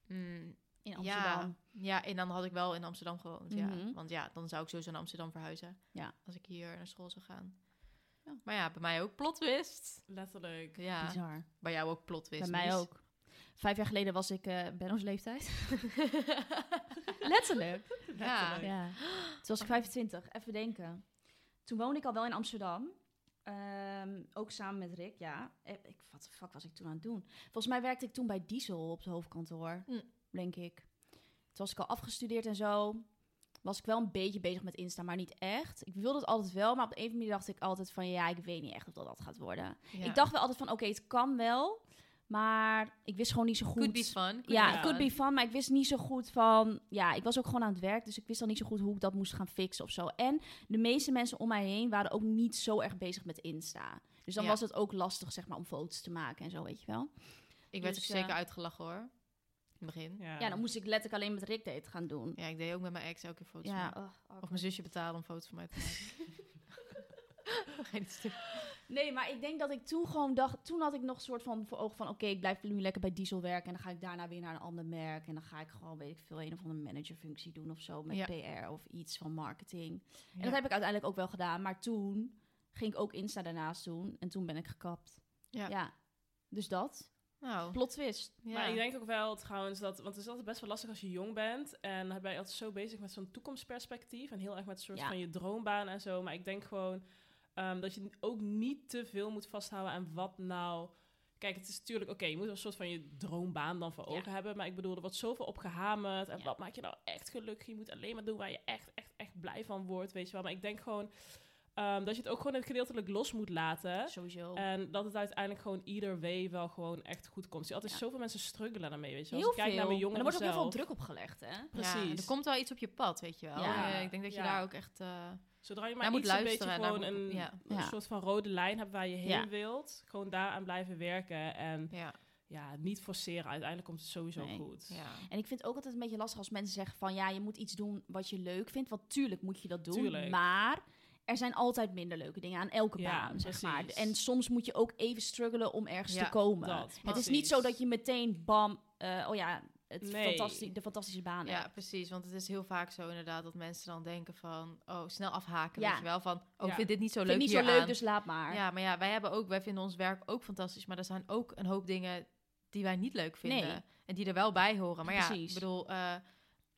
[SPEAKER 2] Mm,
[SPEAKER 4] In
[SPEAKER 2] ja,
[SPEAKER 4] Amsterdam.
[SPEAKER 2] ja, en dan had ik wel in Amsterdam gewoond.
[SPEAKER 4] Mhm.
[SPEAKER 2] Ja. Want ja, dan zou ik sowieso naar Amsterdam verhuizen.
[SPEAKER 4] Ja.
[SPEAKER 2] Als ik hier naar school zou gaan.
[SPEAKER 4] Ja.
[SPEAKER 2] Maar ja, bij mij ook plot twist.
[SPEAKER 3] Letterlijk.
[SPEAKER 2] Ja,
[SPEAKER 4] Bizar.
[SPEAKER 2] bij jou ook plot twist.
[SPEAKER 4] Bij mij
[SPEAKER 2] Mies.
[SPEAKER 4] ook. Vijf jaar geleden was ik eh Benno's leeftijd. Letterlijk.
[SPEAKER 2] ja.
[SPEAKER 3] Letterlijk.
[SPEAKER 4] Ja. Toen was ik 25. Even denken. Toen woonde ik al wel in Amsterdam. Ehm, ook samen met Rick, ja. Eh, Ik, wat de fuck was ik toen aan het doen? Volgens mij werkte ik toen bij Diesel op het hoofdkantoor,
[SPEAKER 2] Mm.
[SPEAKER 4] denk ik. Toen was ik al afgestudeerd en zo. Was ik wel een beetje bezig met Insta, maar niet echt. Ik wilde het altijd wel, maar op de een of andere manier dacht ik altijd van... ja, ik weet niet echt of dat dat gaat worden.
[SPEAKER 2] Ja.
[SPEAKER 4] Ik dacht wel altijd van, oké, het kan wel. Maar ik wist gewoon niet zo goed
[SPEAKER 2] Could be fun. Could
[SPEAKER 4] ja,
[SPEAKER 3] be
[SPEAKER 4] het could
[SPEAKER 2] fun.
[SPEAKER 4] be fun, maar ik wist niet zo goed van... Ja, ik was ook gewoon aan het werk, dus ik wist al niet zo goed hoe ik dat moest gaan fixen of zo. En de meeste mensen om mij heen waren ook niet zo erg bezig met Insta. Dus dan
[SPEAKER 2] Ja.
[SPEAKER 4] was het ook lastig, zeg maar, om foto's te maken en zo, weet je wel.
[SPEAKER 2] Ik werd
[SPEAKER 4] Dus,
[SPEAKER 2] ook zeker
[SPEAKER 4] eh,
[SPEAKER 2] uitgelachen hoor. In het begin.
[SPEAKER 3] Ja.
[SPEAKER 4] Ja, dan moest ik letterlijk alleen met Rick date gaan doen.
[SPEAKER 2] Ja, ik deed ook met mijn ex elke keer foto's
[SPEAKER 4] Ja,
[SPEAKER 2] maken.
[SPEAKER 4] ugh, awkward.
[SPEAKER 2] Of mijn zusje betalen om foto's van mij te maken. Geen stuk.
[SPEAKER 4] Nee, maar ik denk dat ik toen gewoon dacht... Toen had ik nog een soort van voor ogen van... Oké, ik blijf nu lekker bij Diesel werken... en dan ga ik daarna weer naar een ander merk... en dan ga ik gewoon, weet ik veel, een of andere managerfunctie doen of zo... met
[SPEAKER 2] Ja.
[SPEAKER 4] PR of iets van marketing. En
[SPEAKER 2] Ja.
[SPEAKER 4] dat heb ik uiteindelijk ook wel gedaan. Maar toen ging ik ook Insta daarnaast doen. En toen ben ik gekapt.
[SPEAKER 2] Ja.
[SPEAKER 4] Dus dat.
[SPEAKER 3] Oh.
[SPEAKER 2] Nou,
[SPEAKER 4] Plot twist.
[SPEAKER 2] ja.
[SPEAKER 3] Maar ik denk ook wel trouwens dat, want het is altijd best wel lastig als je jong bent. En dan ben je altijd zo bezig met zo'n toekomstperspectief. En heel erg met een soort
[SPEAKER 4] Ja.
[SPEAKER 3] van je droombaan en zo. Maar ik denk gewoon ehm, dat je ook niet te veel moet vasthouden aan wat nou. Kijk, het is natuurlijk, oké, je moet een soort van je droombaan dan voor
[SPEAKER 2] Ja.
[SPEAKER 3] ogen hebben. Maar ik bedoel, er wordt zoveel op gehamerd. En
[SPEAKER 2] Ja.
[SPEAKER 3] wat maakt je nou echt gelukkig? Je moet alleen maar doen waar je echt, echt, echt blij van wordt, weet je wel. Maar ik denk gewoon ehm, dat je het ook gewoon gedeeltelijk los moet laten.
[SPEAKER 4] Sowieso.
[SPEAKER 3] En dat het uiteindelijk gewoon ieder way wel gewoon echt goed komt. Je altijd
[SPEAKER 4] Ja.
[SPEAKER 3] zoveel mensen struggelen daarmee, weet je wel.
[SPEAKER 4] heel
[SPEAKER 3] Als ik kijk
[SPEAKER 4] veel.
[SPEAKER 3] naar mijn
[SPEAKER 4] En er
[SPEAKER 3] jongeren
[SPEAKER 4] wordt ook heel veel
[SPEAKER 3] zelf.
[SPEAKER 4] druk op gelegd, hè?
[SPEAKER 3] Precies.
[SPEAKER 2] Ja, er komt wel iets op je pad, weet je wel.
[SPEAKER 4] Ja.
[SPEAKER 2] Eh, ik denk dat je
[SPEAKER 3] Ja.
[SPEAKER 2] daar ook echt... eh,
[SPEAKER 3] Zodra je
[SPEAKER 2] Daar
[SPEAKER 3] maar
[SPEAKER 2] moet
[SPEAKER 3] iets een beetje
[SPEAKER 2] luisteren, daar
[SPEAKER 3] gewoon
[SPEAKER 2] moet-
[SPEAKER 3] een,
[SPEAKER 2] ja.
[SPEAKER 3] een
[SPEAKER 6] Ja.
[SPEAKER 3] soort van rode lijn hebt waar je heen
[SPEAKER 6] Ja.
[SPEAKER 3] wilt. Gewoon daaraan blijven werken. En
[SPEAKER 2] ja,
[SPEAKER 3] ja, niet forceren. Uiteindelijk komt het sowieso
[SPEAKER 4] Nee.
[SPEAKER 3] goed.
[SPEAKER 2] ja.
[SPEAKER 4] En ik vind het ook altijd een beetje lastig als mensen zeggen van ja, je moet iets doen wat je leuk vindt. Want tuurlijk moet je dat doen.
[SPEAKER 3] Tuurlijk.
[SPEAKER 4] Maar er zijn altijd minder leuke dingen aan elke
[SPEAKER 3] Ja,
[SPEAKER 4] baan, zeg maar.
[SPEAKER 3] precies.
[SPEAKER 4] En soms moet je ook even struggelen om ergens
[SPEAKER 2] Ja,
[SPEAKER 4] te komen.
[SPEAKER 3] dat,
[SPEAKER 4] het is
[SPEAKER 3] precies.
[SPEAKER 4] niet zo dat je meteen bam, eh, oh ja, het
[SPEAKER 3] Nee.
[SPEAKER 4] fantastisch, de fantastische baan
[SPEAKER 2] Ja,
[SPEAKER 4] hebt.
[SPEAKER 2] precies. Want het is heel vaak zo inderdaad dat mensen dan denken van... Oh, snel afhaken,
[SPEAKER 4] Ja.
[SPEAKER 2] weet je wel. Van, oh,
[SPEAKER 3] Ja.
[SPEAKER 2] ik vind dit niet zo
[SPEAKER 4] Vind
[SPEAKER 2] leuk
[SPEAKER 4] ik niet zo
[SPEAKER 2] hieraan.
[SPEAKER 4] leuk, dus laat maar.
[SPEAKER 2] Ja, maar ja, wij, hebben ook, wij vinden ons werk ook fantastisch. Maar er zijn ook een hoop dingen die wij niet leuk vinden.
[SPEAKER 4] Nee.
[SPEAKER 2] En die er wel bij horen. Maar ja,
[SPEAKER 4] Precies.
[SPEAKER 2] ik bedoel, eh,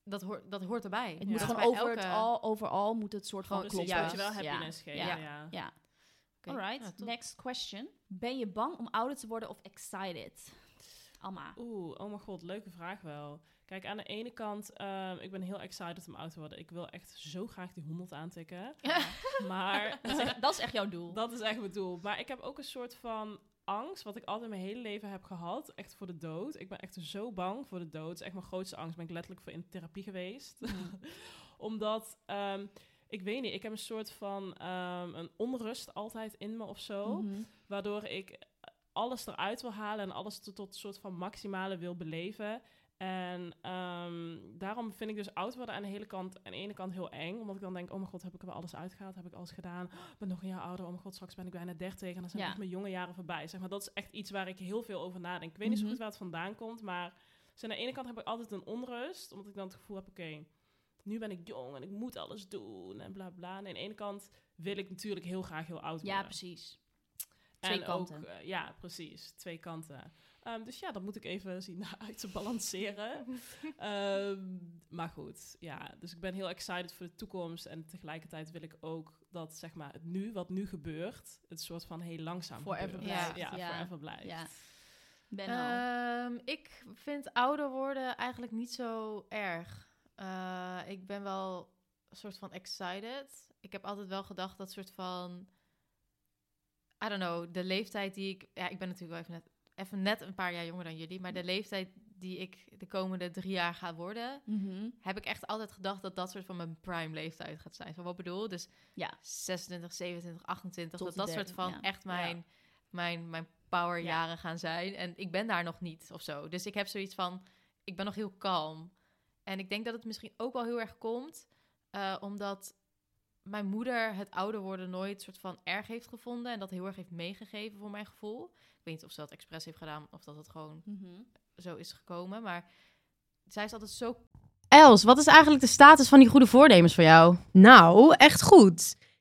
[SPEAKER 2] dat, hoort, dat hoort erbij.
[SPEAKER 4] Het
[SPEAKER 2] Ja.
[SPEAKER 4] moet
[SPEAKER 2] Dat
[SPEAKER 4] gewoon
[SPEAKER 2] bij
[SPEAKER 4] over het
[SPEAKER 2] elke-
[SPEAKER 4] al, overal moet het soort van
[SPEAKER 2] Gewoon
[SPEAKER 3] Precies,
[SPEAKER 4] kloppen.
[SPEAKER 3] dat
[SPEAKER 2] juist.
[SPEAKER 3] je wel
[SPEAKER 4] Ja.
[SPEAKER 3] happiness geeft.
[SPEAKER 4] Ja.
[SPEAKER 3] Ja.
[SPEAKER 4] Ja.
[SPEAKER 2] Oké.
[SPEAKER 4] Alright,
[SPEAKER 2] Ja, top.
[SPEAKER 4] next question. Ben je bang om ouder te worden of excited? Alma.
[SPEAKER 3] Oeh, oh mijn god, leuke vraag wel. Kijk, aan de ene kant, ehm, ik ben heel excited om oud te worden. Ik wil echt zo graag die 100 aantikken. maar
[SPEAKER 4] Dat is echt- dat is echt jouw doel.
[SPEAKER 3] Dat is echt mijn doel. Maar ik heb ook een soort van angst, wat ik altijd mijn hele leven heb gehad. Echt voor de dood. Ik ben echt zo bang voor de dood. Het is echt mijn grootste angst. Ben ik letterlijk voor in therapie geweest. Omdat, ehm, ik weet niet, ik heb een soort van ehm, een onrust altijd in me of zo.
[SPEAKER 4] Mhm.
[SPEAKER 3] Waardoor ik alles eruit wil halen en alles tot, tot een soort van maximale wil beleven. En ehm, daarom vind ik dus oud worden aan de, hele kant, aan de ene kant heel eng. Omdat ik dan denk, oh mijn god, heb ik er wel alles uitgehaald? Heb ik alles gedaan? Ik ben nog een jaar ouder. Oh mijn god, straks ben ik bijna 30 En dan zijn
[SPEAKER 4] Ja.
[SPEAKER 3] echt mijn jonge jaren voorbij. Zeg maar, dat is echt iets waar ik heel veel over nadenk. Ik weet niet zo
[SPEAKER 4] Mhm.
[SPEAKER 3] goed waar het vandaan komt. Maar dus aan de ene kant heb ik altijd een onrust. Omdat ik dan het gevoel heb, oké, nu ben ik jong en ik moet alles doen. En bla bla. En aan de ene kant wil ik natuurlijk heel graag heel oud worden.
[SPEAKER 4] Ja, precies. Twee
[SPEAKER 3] en
[SPEAKER 4] kanten.
[SPEAKER 3] Ook, eh, ja, precies. Twee kanten. Ehm, dus ja, dat moet ik even zien uit te balanceren. Ehm, maar goed, ja. Dus ik ben heel excited voor de toekomst. En tegelijkertijd wil ik ook dat, zeg maar, het nu, wat nu gebeurt, het soort van heel langzaam
[SPEAKER 4] Forever
[SPEAKER 3] gebeurt.
[SPEAKER 2] blijft,
[SPEAKER 3] Ja,
[SPEAKER 4] ja.
[SPEAKER 3] forever blijft.
[SPEAKER 4] Ja. Ben al.
[SPEAKER 2] Ehm, ik vind ouder worden eigenlijk niet zo erg. Eh, ik ben wel een soort van excited. Ik heb altijd wel gedacht dat soort van... I don't know, de leeftijd die ik... Ja, ik ben natuurlijk wel even net, even net een paar jaar jonger dan jullie. Maar de leeftijd die ik de komende drie jaar ga worden...
[SPEAKER 4] Mhm.
[SPEAKER 2] heb ik echt altijd gedacht dat dat soort van mijn prime leeftijd gaat zijn. Van wat ik bedoel? Dus
[SPEAKER 4] Ja.
[SPEAKER 2] 26, 27, 28.
[SPEAKER 4] Tot
[SPEAKER 2] dat
[SPEAKER 4] de
[SPEAKER 2] dat soort
[SPEAKER 4] derde,
[SPEAKER 2] van
[SPEAKER 4] ja.
[SPEAKER 2] echt mijn, mijn, mijn powerjaren gaan zijn. En ik ben daar nog niet of zo. Dus ik heb zoiets van, ik ben nog heel kalm. En ik denk dat het misschien ook wel heel erg komt. eh, omdat mijn moeder het ouder worden nooit soort van erg heeft gevonden. En dat heel erg heeft meegegeven voor mijn gevoel. Ik weet niet of ze dat expres heeft gedaan of dat het gewoon
[SPEAKER 4] Mhm.
[SPEAKER 2] zo is gekomen. Maar zij is altijd zo
[SPEAKER 6] Els, wat is eigenlijk de status van die goede voornemens voor jou?
[SPEAKER 5] Nou, echt goed.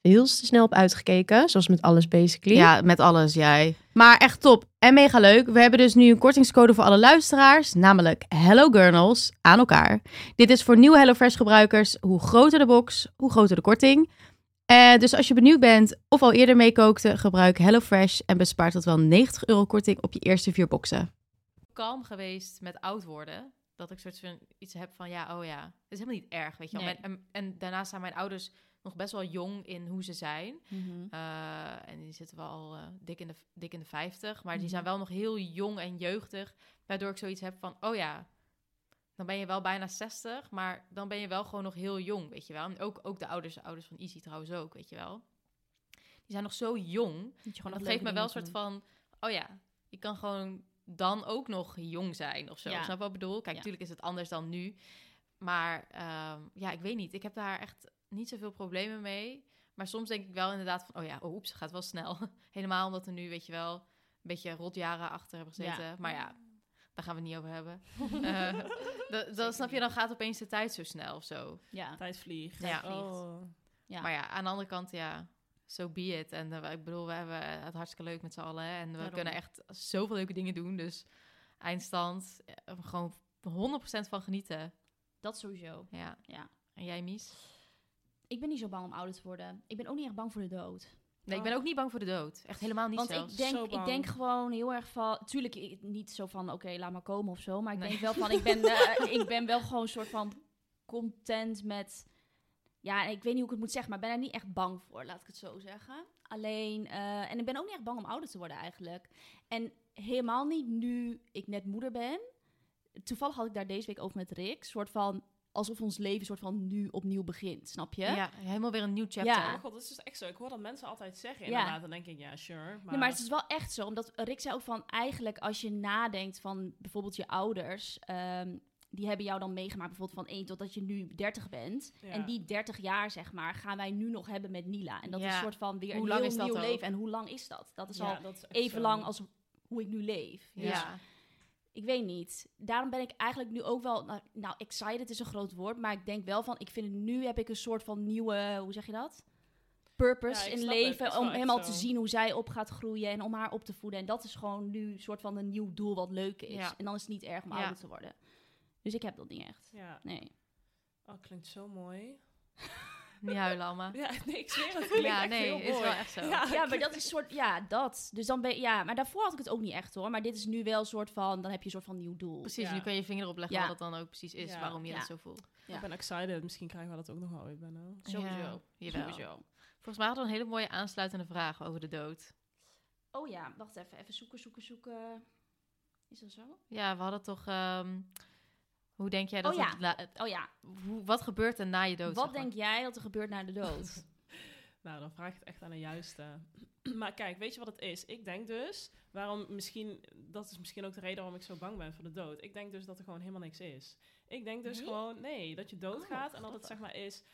[SPEAKER 5] heel te snel op uitgekeken. Zoals met alles basically.
[SPEAKER 6] Ja, met alles, jij. Maar echt top en mega leuk. We hebben dus nu een kortingscode voor alle luisteraars, namelijk Hello Gurnals aan elkaar. Dit is voor nieuwe HelloFresh gebruikers. Hoe groter de box, hoe groter de korting. Eh, dus als je benieuwd bent of al eerder meekookte, gebruik HelloFresh en bespaart tot wel 90 euro korting op je eerste vier boxen.
[SPEAKER 2] kalm geweest met oud worden. Dat ik soort van iets heb van ja, oh ja, het is helemaal niet erg, weet je wel.
[SPEAKER 4] Nee.
[SPEAKER 2] Mijn- En, en daarnaast zijn mijn ouders nog best wel jong in hoe ze zijn.
[SPEAKER 4] Mhm.
[SPEAKER 2] Eh, en die zitten wel al eh, dik, in de, dik in de 50. Maar die zijn wel nog heel jong en jeugdig. Waardoor ik zoiets heb van: oh ja, dan ben je wel bijna 60. Maar dan ben je wel gewoon nog heel jong, weet je wel. En ook, ook de ouders, ouders van Izzy trouwens ook, weet je wel. Die zijn nog zo jong.
[SPEAKER 4] Dat, je
[SPEAKER 2] En
[SPEAKER 4] gewoon
[SPEAKER 2] dat
[SPEAKER 4] nog
[SPEAKER 2] geeft
[SPEAKER 4] leuke
[SPEAKER 2] me wel
[SPEAKER 4] dingen
[SPEAKER 2] een soort
[SPEAKER 4] kan
[SPEAKER 2] van: oh ja, je kan gewoon dan ook nog jong zijn of zo.
[SPEAKER 4] Ja.
[SPEAKER 2] Snap je wat ik bedoel? Kijk,
[SPEAKER 4] Ja.
[SPEAKER 2] natuurlijk is het anders dan nu. Maar ehm, ja, ik weet niet. Ik heb daar echt niet zoveel problemen mee. Maar soms denk ik wel inderdaad van, oh ja, oh, oeps, gaat wel snel. Helemaal omdat er nu, weet je wel, een beetje rotjaren achter hebben gezeten.
[SPEAKER 4] Ja.
[SPEAKER 2] Maar ja, daar gaan we het niet over hebben. Eh, da- dan snap je, dan gaat opeens de tijd zo snel of zo.
[SPEAKER 4] doen. Ja.
[SPEAKER 3] Tijd vliegt.
[SPEAKER 2] Ja.
[SPEAKER 3] Oh.
[SPEAKER 4] Ja.
[SPEAKER 2] Maar ja, aan de andere kant, ja, so be it. En eh, ik bedoel, we hebben het hartstikke leuk met z'n allen. En we
[SPEAKER 4] Daarom.
[SPEAKER 2] kunnen echt zoveel leuke dingen doen. Dus eindstand, eh, gewoon 100% van genieten.
[SPEAKER 4] Dat sowieso.
[SPEAKER 2] Ja.
[SPEAKER 4] Ja.
[SPEAKER 2] En jij, Mies?
[SPEAKER 4] Ik ben niet zo bang om ouder te worden. Ik ben ook niet echt bang voor de dood.
[SPEAKER 2] Nee, ik ben
[SPEAKER 4] Oh.
[SPEAKER 2] ook niet bang voor de dood. Echt helemaal niet
[SPEAKER 4] Want
[SPEAKER 2] zelfs.
[SPEAKER 4] ik denk,
[SPEAKER 3] Zo
[SPEAKER 4] ik
[SPEAKER 3] bang.
[SPEAKER 4] denk gewoon heel erg van... Tuurlijk, ik, niet zo van, oké, laat maar komen of zo. Maar ik
[SPEAKER 2] Nee.
[SPEAKER 4] denk wel van, ik ben, eh, ik ben wel gewoon een soort van content met... Ja, ik weet niet hoe ik het moet zeggen, maar ik ben er niet echt bang voor, laat ik het zo zeggen. Alleen, eh, en ik ben ook niet echt bang om ouder te worden eigenlijk. En helemaal niet nu ik net moeder ben. Toevallig had ik daar deze week over met Rick. Soort van, alsof ons leven soort van nu opnieuw begint, snap je?
[SPEAKER 2] Ja, helemaal weer een nieuw chapter.
[SPEAKER 4] Ja.
[SPEAKER 3] Oh mijn god, dat is dus echt zo. Ik hoor dat mensen altijd zeggen
[SPEAKER 4] Ja.
[SPEAKER 3] inderdaad. Dan denk ik, ja, sure. Maar,
[SPEAKER 4] Nee, maar het is wel echt zo. Omdat Rick zei ook van eigenlijk als je nadenkt van bijvoorbeeld je ouders. ehm, die hebben jou dan meegemaakt bijvoorbeeld van 1 totdat je nu 30 bent.
[SPEAKER 3] Ja.
[SPEAKER 4] En die 30 jaar, zeg maar, gaan wij nu nog hebben met Nila. En dat is
[SPEAKER 2] Ja.
[SPEAKER 4] een soort van weer
[SPEAKER 2] Hoe
[SPEAKER 4] een
[SPEAKER 2] lang
[SPEAKER 4] heel
[SPEAKER 2] is dat
[SPEAKER 4] nieuw
[SPEAKER 2] ook?
[SPEAKER 4] leven. En hoe lang is dat? Dat is
[SPEAKER 3] Ja,
[SPEAKER 4] al
[SPEAKER 3] dat is echt
[SPEAKER 4] even
[SPEAKER 3] zo.
[SPEAKER 4] lang als hoe ik nu leef. Dus
[SPEAKER 2] Ja.
[SPEAKER 4] ik weet niet. Daarom ben ik eigenlijk nu ook wel... Nou, nou, excited is een groot woord. Maar ik denk wel van, ik vind het nu heb ik een soort van nieuwe... Hoe zeg je dat?
[SPEAKER 3] Ja,
[SPEAKER 4] Purpose
[SPEAKER 3] ik
[SPEAKER 4] in
[SPEAKER 3] snap het.
[SPEAKER 4] leven.
[SPEAKER 3] Het is wel
[SPEAKER 4] Om
[SPEAKER 3] echt
[SPEAKER 4] helemaal te
[SPEAKER 3] zo.
[SPEAKER 4] zien hoe zij op gaat groeien. En om haar op te voeden. En dat is gewoon nu een soort van een nieuw doel wat leuk is.
[SPEAKER 2] Ja.
[SPEAKER 4] En dan is het niet erg om
[SPEAKER 2] Ja.
[SPEAKER 4] ouder te worden. Dus ik heb dat niet echt.
[SPEAKER 3] Ja.
[SPEAKER 4] Nee.
[SPEAKER 3] Oh, klinkt zo mooi.
[SPEAKER 2] Niet huilen, allemaal.
[SPEAKER 3] Ja, nee, ik zweer het. klinkt
[SPEAKER 2] Ja,
[SPEAKER 3] echt
[SPEAKER 2] nee,
[SPEAKER 3] heel
[SPEAKER 2] is wel
[SPEAKER 3] mooi.
[SPEAKER 2] echt zo.
[SPEAKER 4] Ja, maar dat is een soort... Ja, dat. Dus dan ben Ja, maar daarvoor had ik het ook niet echt hoor. Maar dit is nu wel een soort van... Dan heb je een soort van nieuw doel.
[SPEAKER 2] Precies,
[SPEAKER 3] Ja.
[SPEAKER 2] nu kan je je vinger erop leggen
[SPEAKER 4] Ja.
[SPEAKER 2] wat dat dan ook precies is,
[SPEAKER 3] Ja.
[SPEAKER 2] waarom je
[SPEAKER 4] Ja.
[SPEAKER 2] dat zo voelt.
[SPEAKER 3] Ik ben excited. Misschien krijgen we dat ook nog wel ooit bij nou.
[SPEAKER 2] Ja, jawel. Volgens mij hadden we een hele mooie aansluitende vraag over de dood.
[SPEAKER 4] Oh ja, wacht even. Even zoeken, zoeken, zoeken. Is dat zo?
[SPEAKER 2] Ja, we hadden toch... ehm, hoe denk jij dat...
[SPEAKER 4] Oh ja.
[SPEAKER 2] het la- het-
[SPEAKER 4] Oh ja.
[SPEAKER 2] hoe- wat gebeurt er na je dood?
[SPEAKER 4] Wat
[SPEAKER 2] zeg maar?
[SPEAKER 4] denk jij dat er gebeurt na de dood?
[SPEAKER 3] Nou, dan vraag ik het echt aan de juiste. Maar kijk, weet je wat het is? Ik denk dus, waarom misschien, dat is misschien ook de reden waarom ik zo bang ben voor de dood. Ik denk dus dat er gewoon helemaal niks is. Ik denk dus
[SPEAKER 4] Nee? Oh,
[SPEAKER 3] gewoon, nee, dat je doodgaat en dat het
[SPEAKER 4] grappig.
[SPEAKER 3] zeg maar is.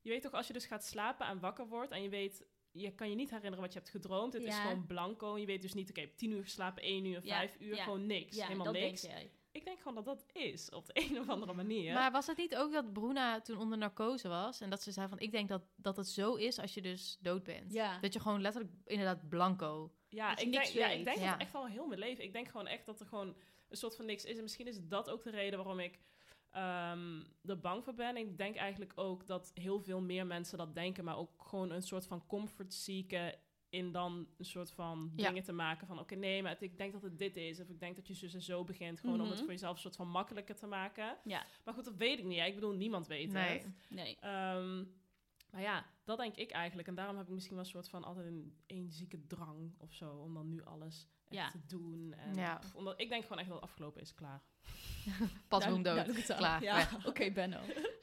[SPEAKER 3] Je weet toch, als je dus gaat slapen en wakker wordt en je weet, je kan je niet herinneren wat je hebt gedroomd. Het is
[SPEAKER 4] Ja.
[SPEAKER 3] gewoon blanco. En je weet dus niet, oké, ik heb tien uur geslapen, één uur,
[SPEAKER 4] Ja,
[SPEAKER 3] vijf uur,
[SPEAKER 4] ja.
[SPEAKER 3] gewoon niks.
[SPEAKER 4] ja,
[SPEAKER 3] helemaal
[SPEAKER 4] dat
[SPEAKER 3] niks.
[SPEAKER 4] denk jij.
[SPEAKER 3] Ik denk gewoon dat dat is, op de een of andere manier.
[SPEAKER 2] Maar was het niet ook dat Bruna toen onder narcose was en dat ze zei van ik denk dat, dat het zo is als je dus dood bent.
[SPEAKER 4] Ja.
[SPEAKER 2] Dat je gewoon letterlijk inderdaad blanco.
[SPEAKER 3] Ja,
[SPEAKER 4] Dat je
[SPEAKER 3] ik denk,
[SPEAKER 4] niks
[SPEAKER 3] ja, ik
[SPEAKER 4] weet.
[SPEAKER 3] denk
[SPEAKER 2] Ja.
[SPEAKER 3] dat echt al heel mijn leven. Ik denk gewoon echt dat er gewoon een soort van niks is. En misschien is dat ook de reden waarom ik ehm, er bang voor ben. Ik denk eigenlijk ook dat heel veel meer mensen dat denken, maar ook gewoon een soort van comfort seeken in dan een soort van
[SPEAKER 2] Ja.
[SPEAKER 3] dingen te maken van oké nee maar het- ik denk dat het dit is of ik denk dat je zus en zo begint gewoon om het
[SPEAKER 4] Mhm.
[SPEAKER 3] voor jezelf een soort van makkelijker te maken
[SPEAKER 4] Ja.
[SPEAKER 3] maar goed dat weet ik niet ja. ik bedoel niemand weet
[SPEAKER 2] Nee.
[SPEAKER 3] het
[SPEAKER 4] Nee.
[SPEAKER 3] Ehm, maar ja, dat denk ik eigenlijk. En daarom heb ik misschien wel een soort van altijd een, een zieke drang of zo. Om dan nu alles echt
[SPEAKER 4] Ja.
[SPEAKER 3] te doen. En
[SPEAKER 2] Ja.
[SPEAKER 3] pff, omdat, ik denk gewoon echt dat het afgelopen is, klaar.
[SPEAKER 2] Pas boem dood. Klaar. Ja.
[SPEAKER 4] Oké, Benno.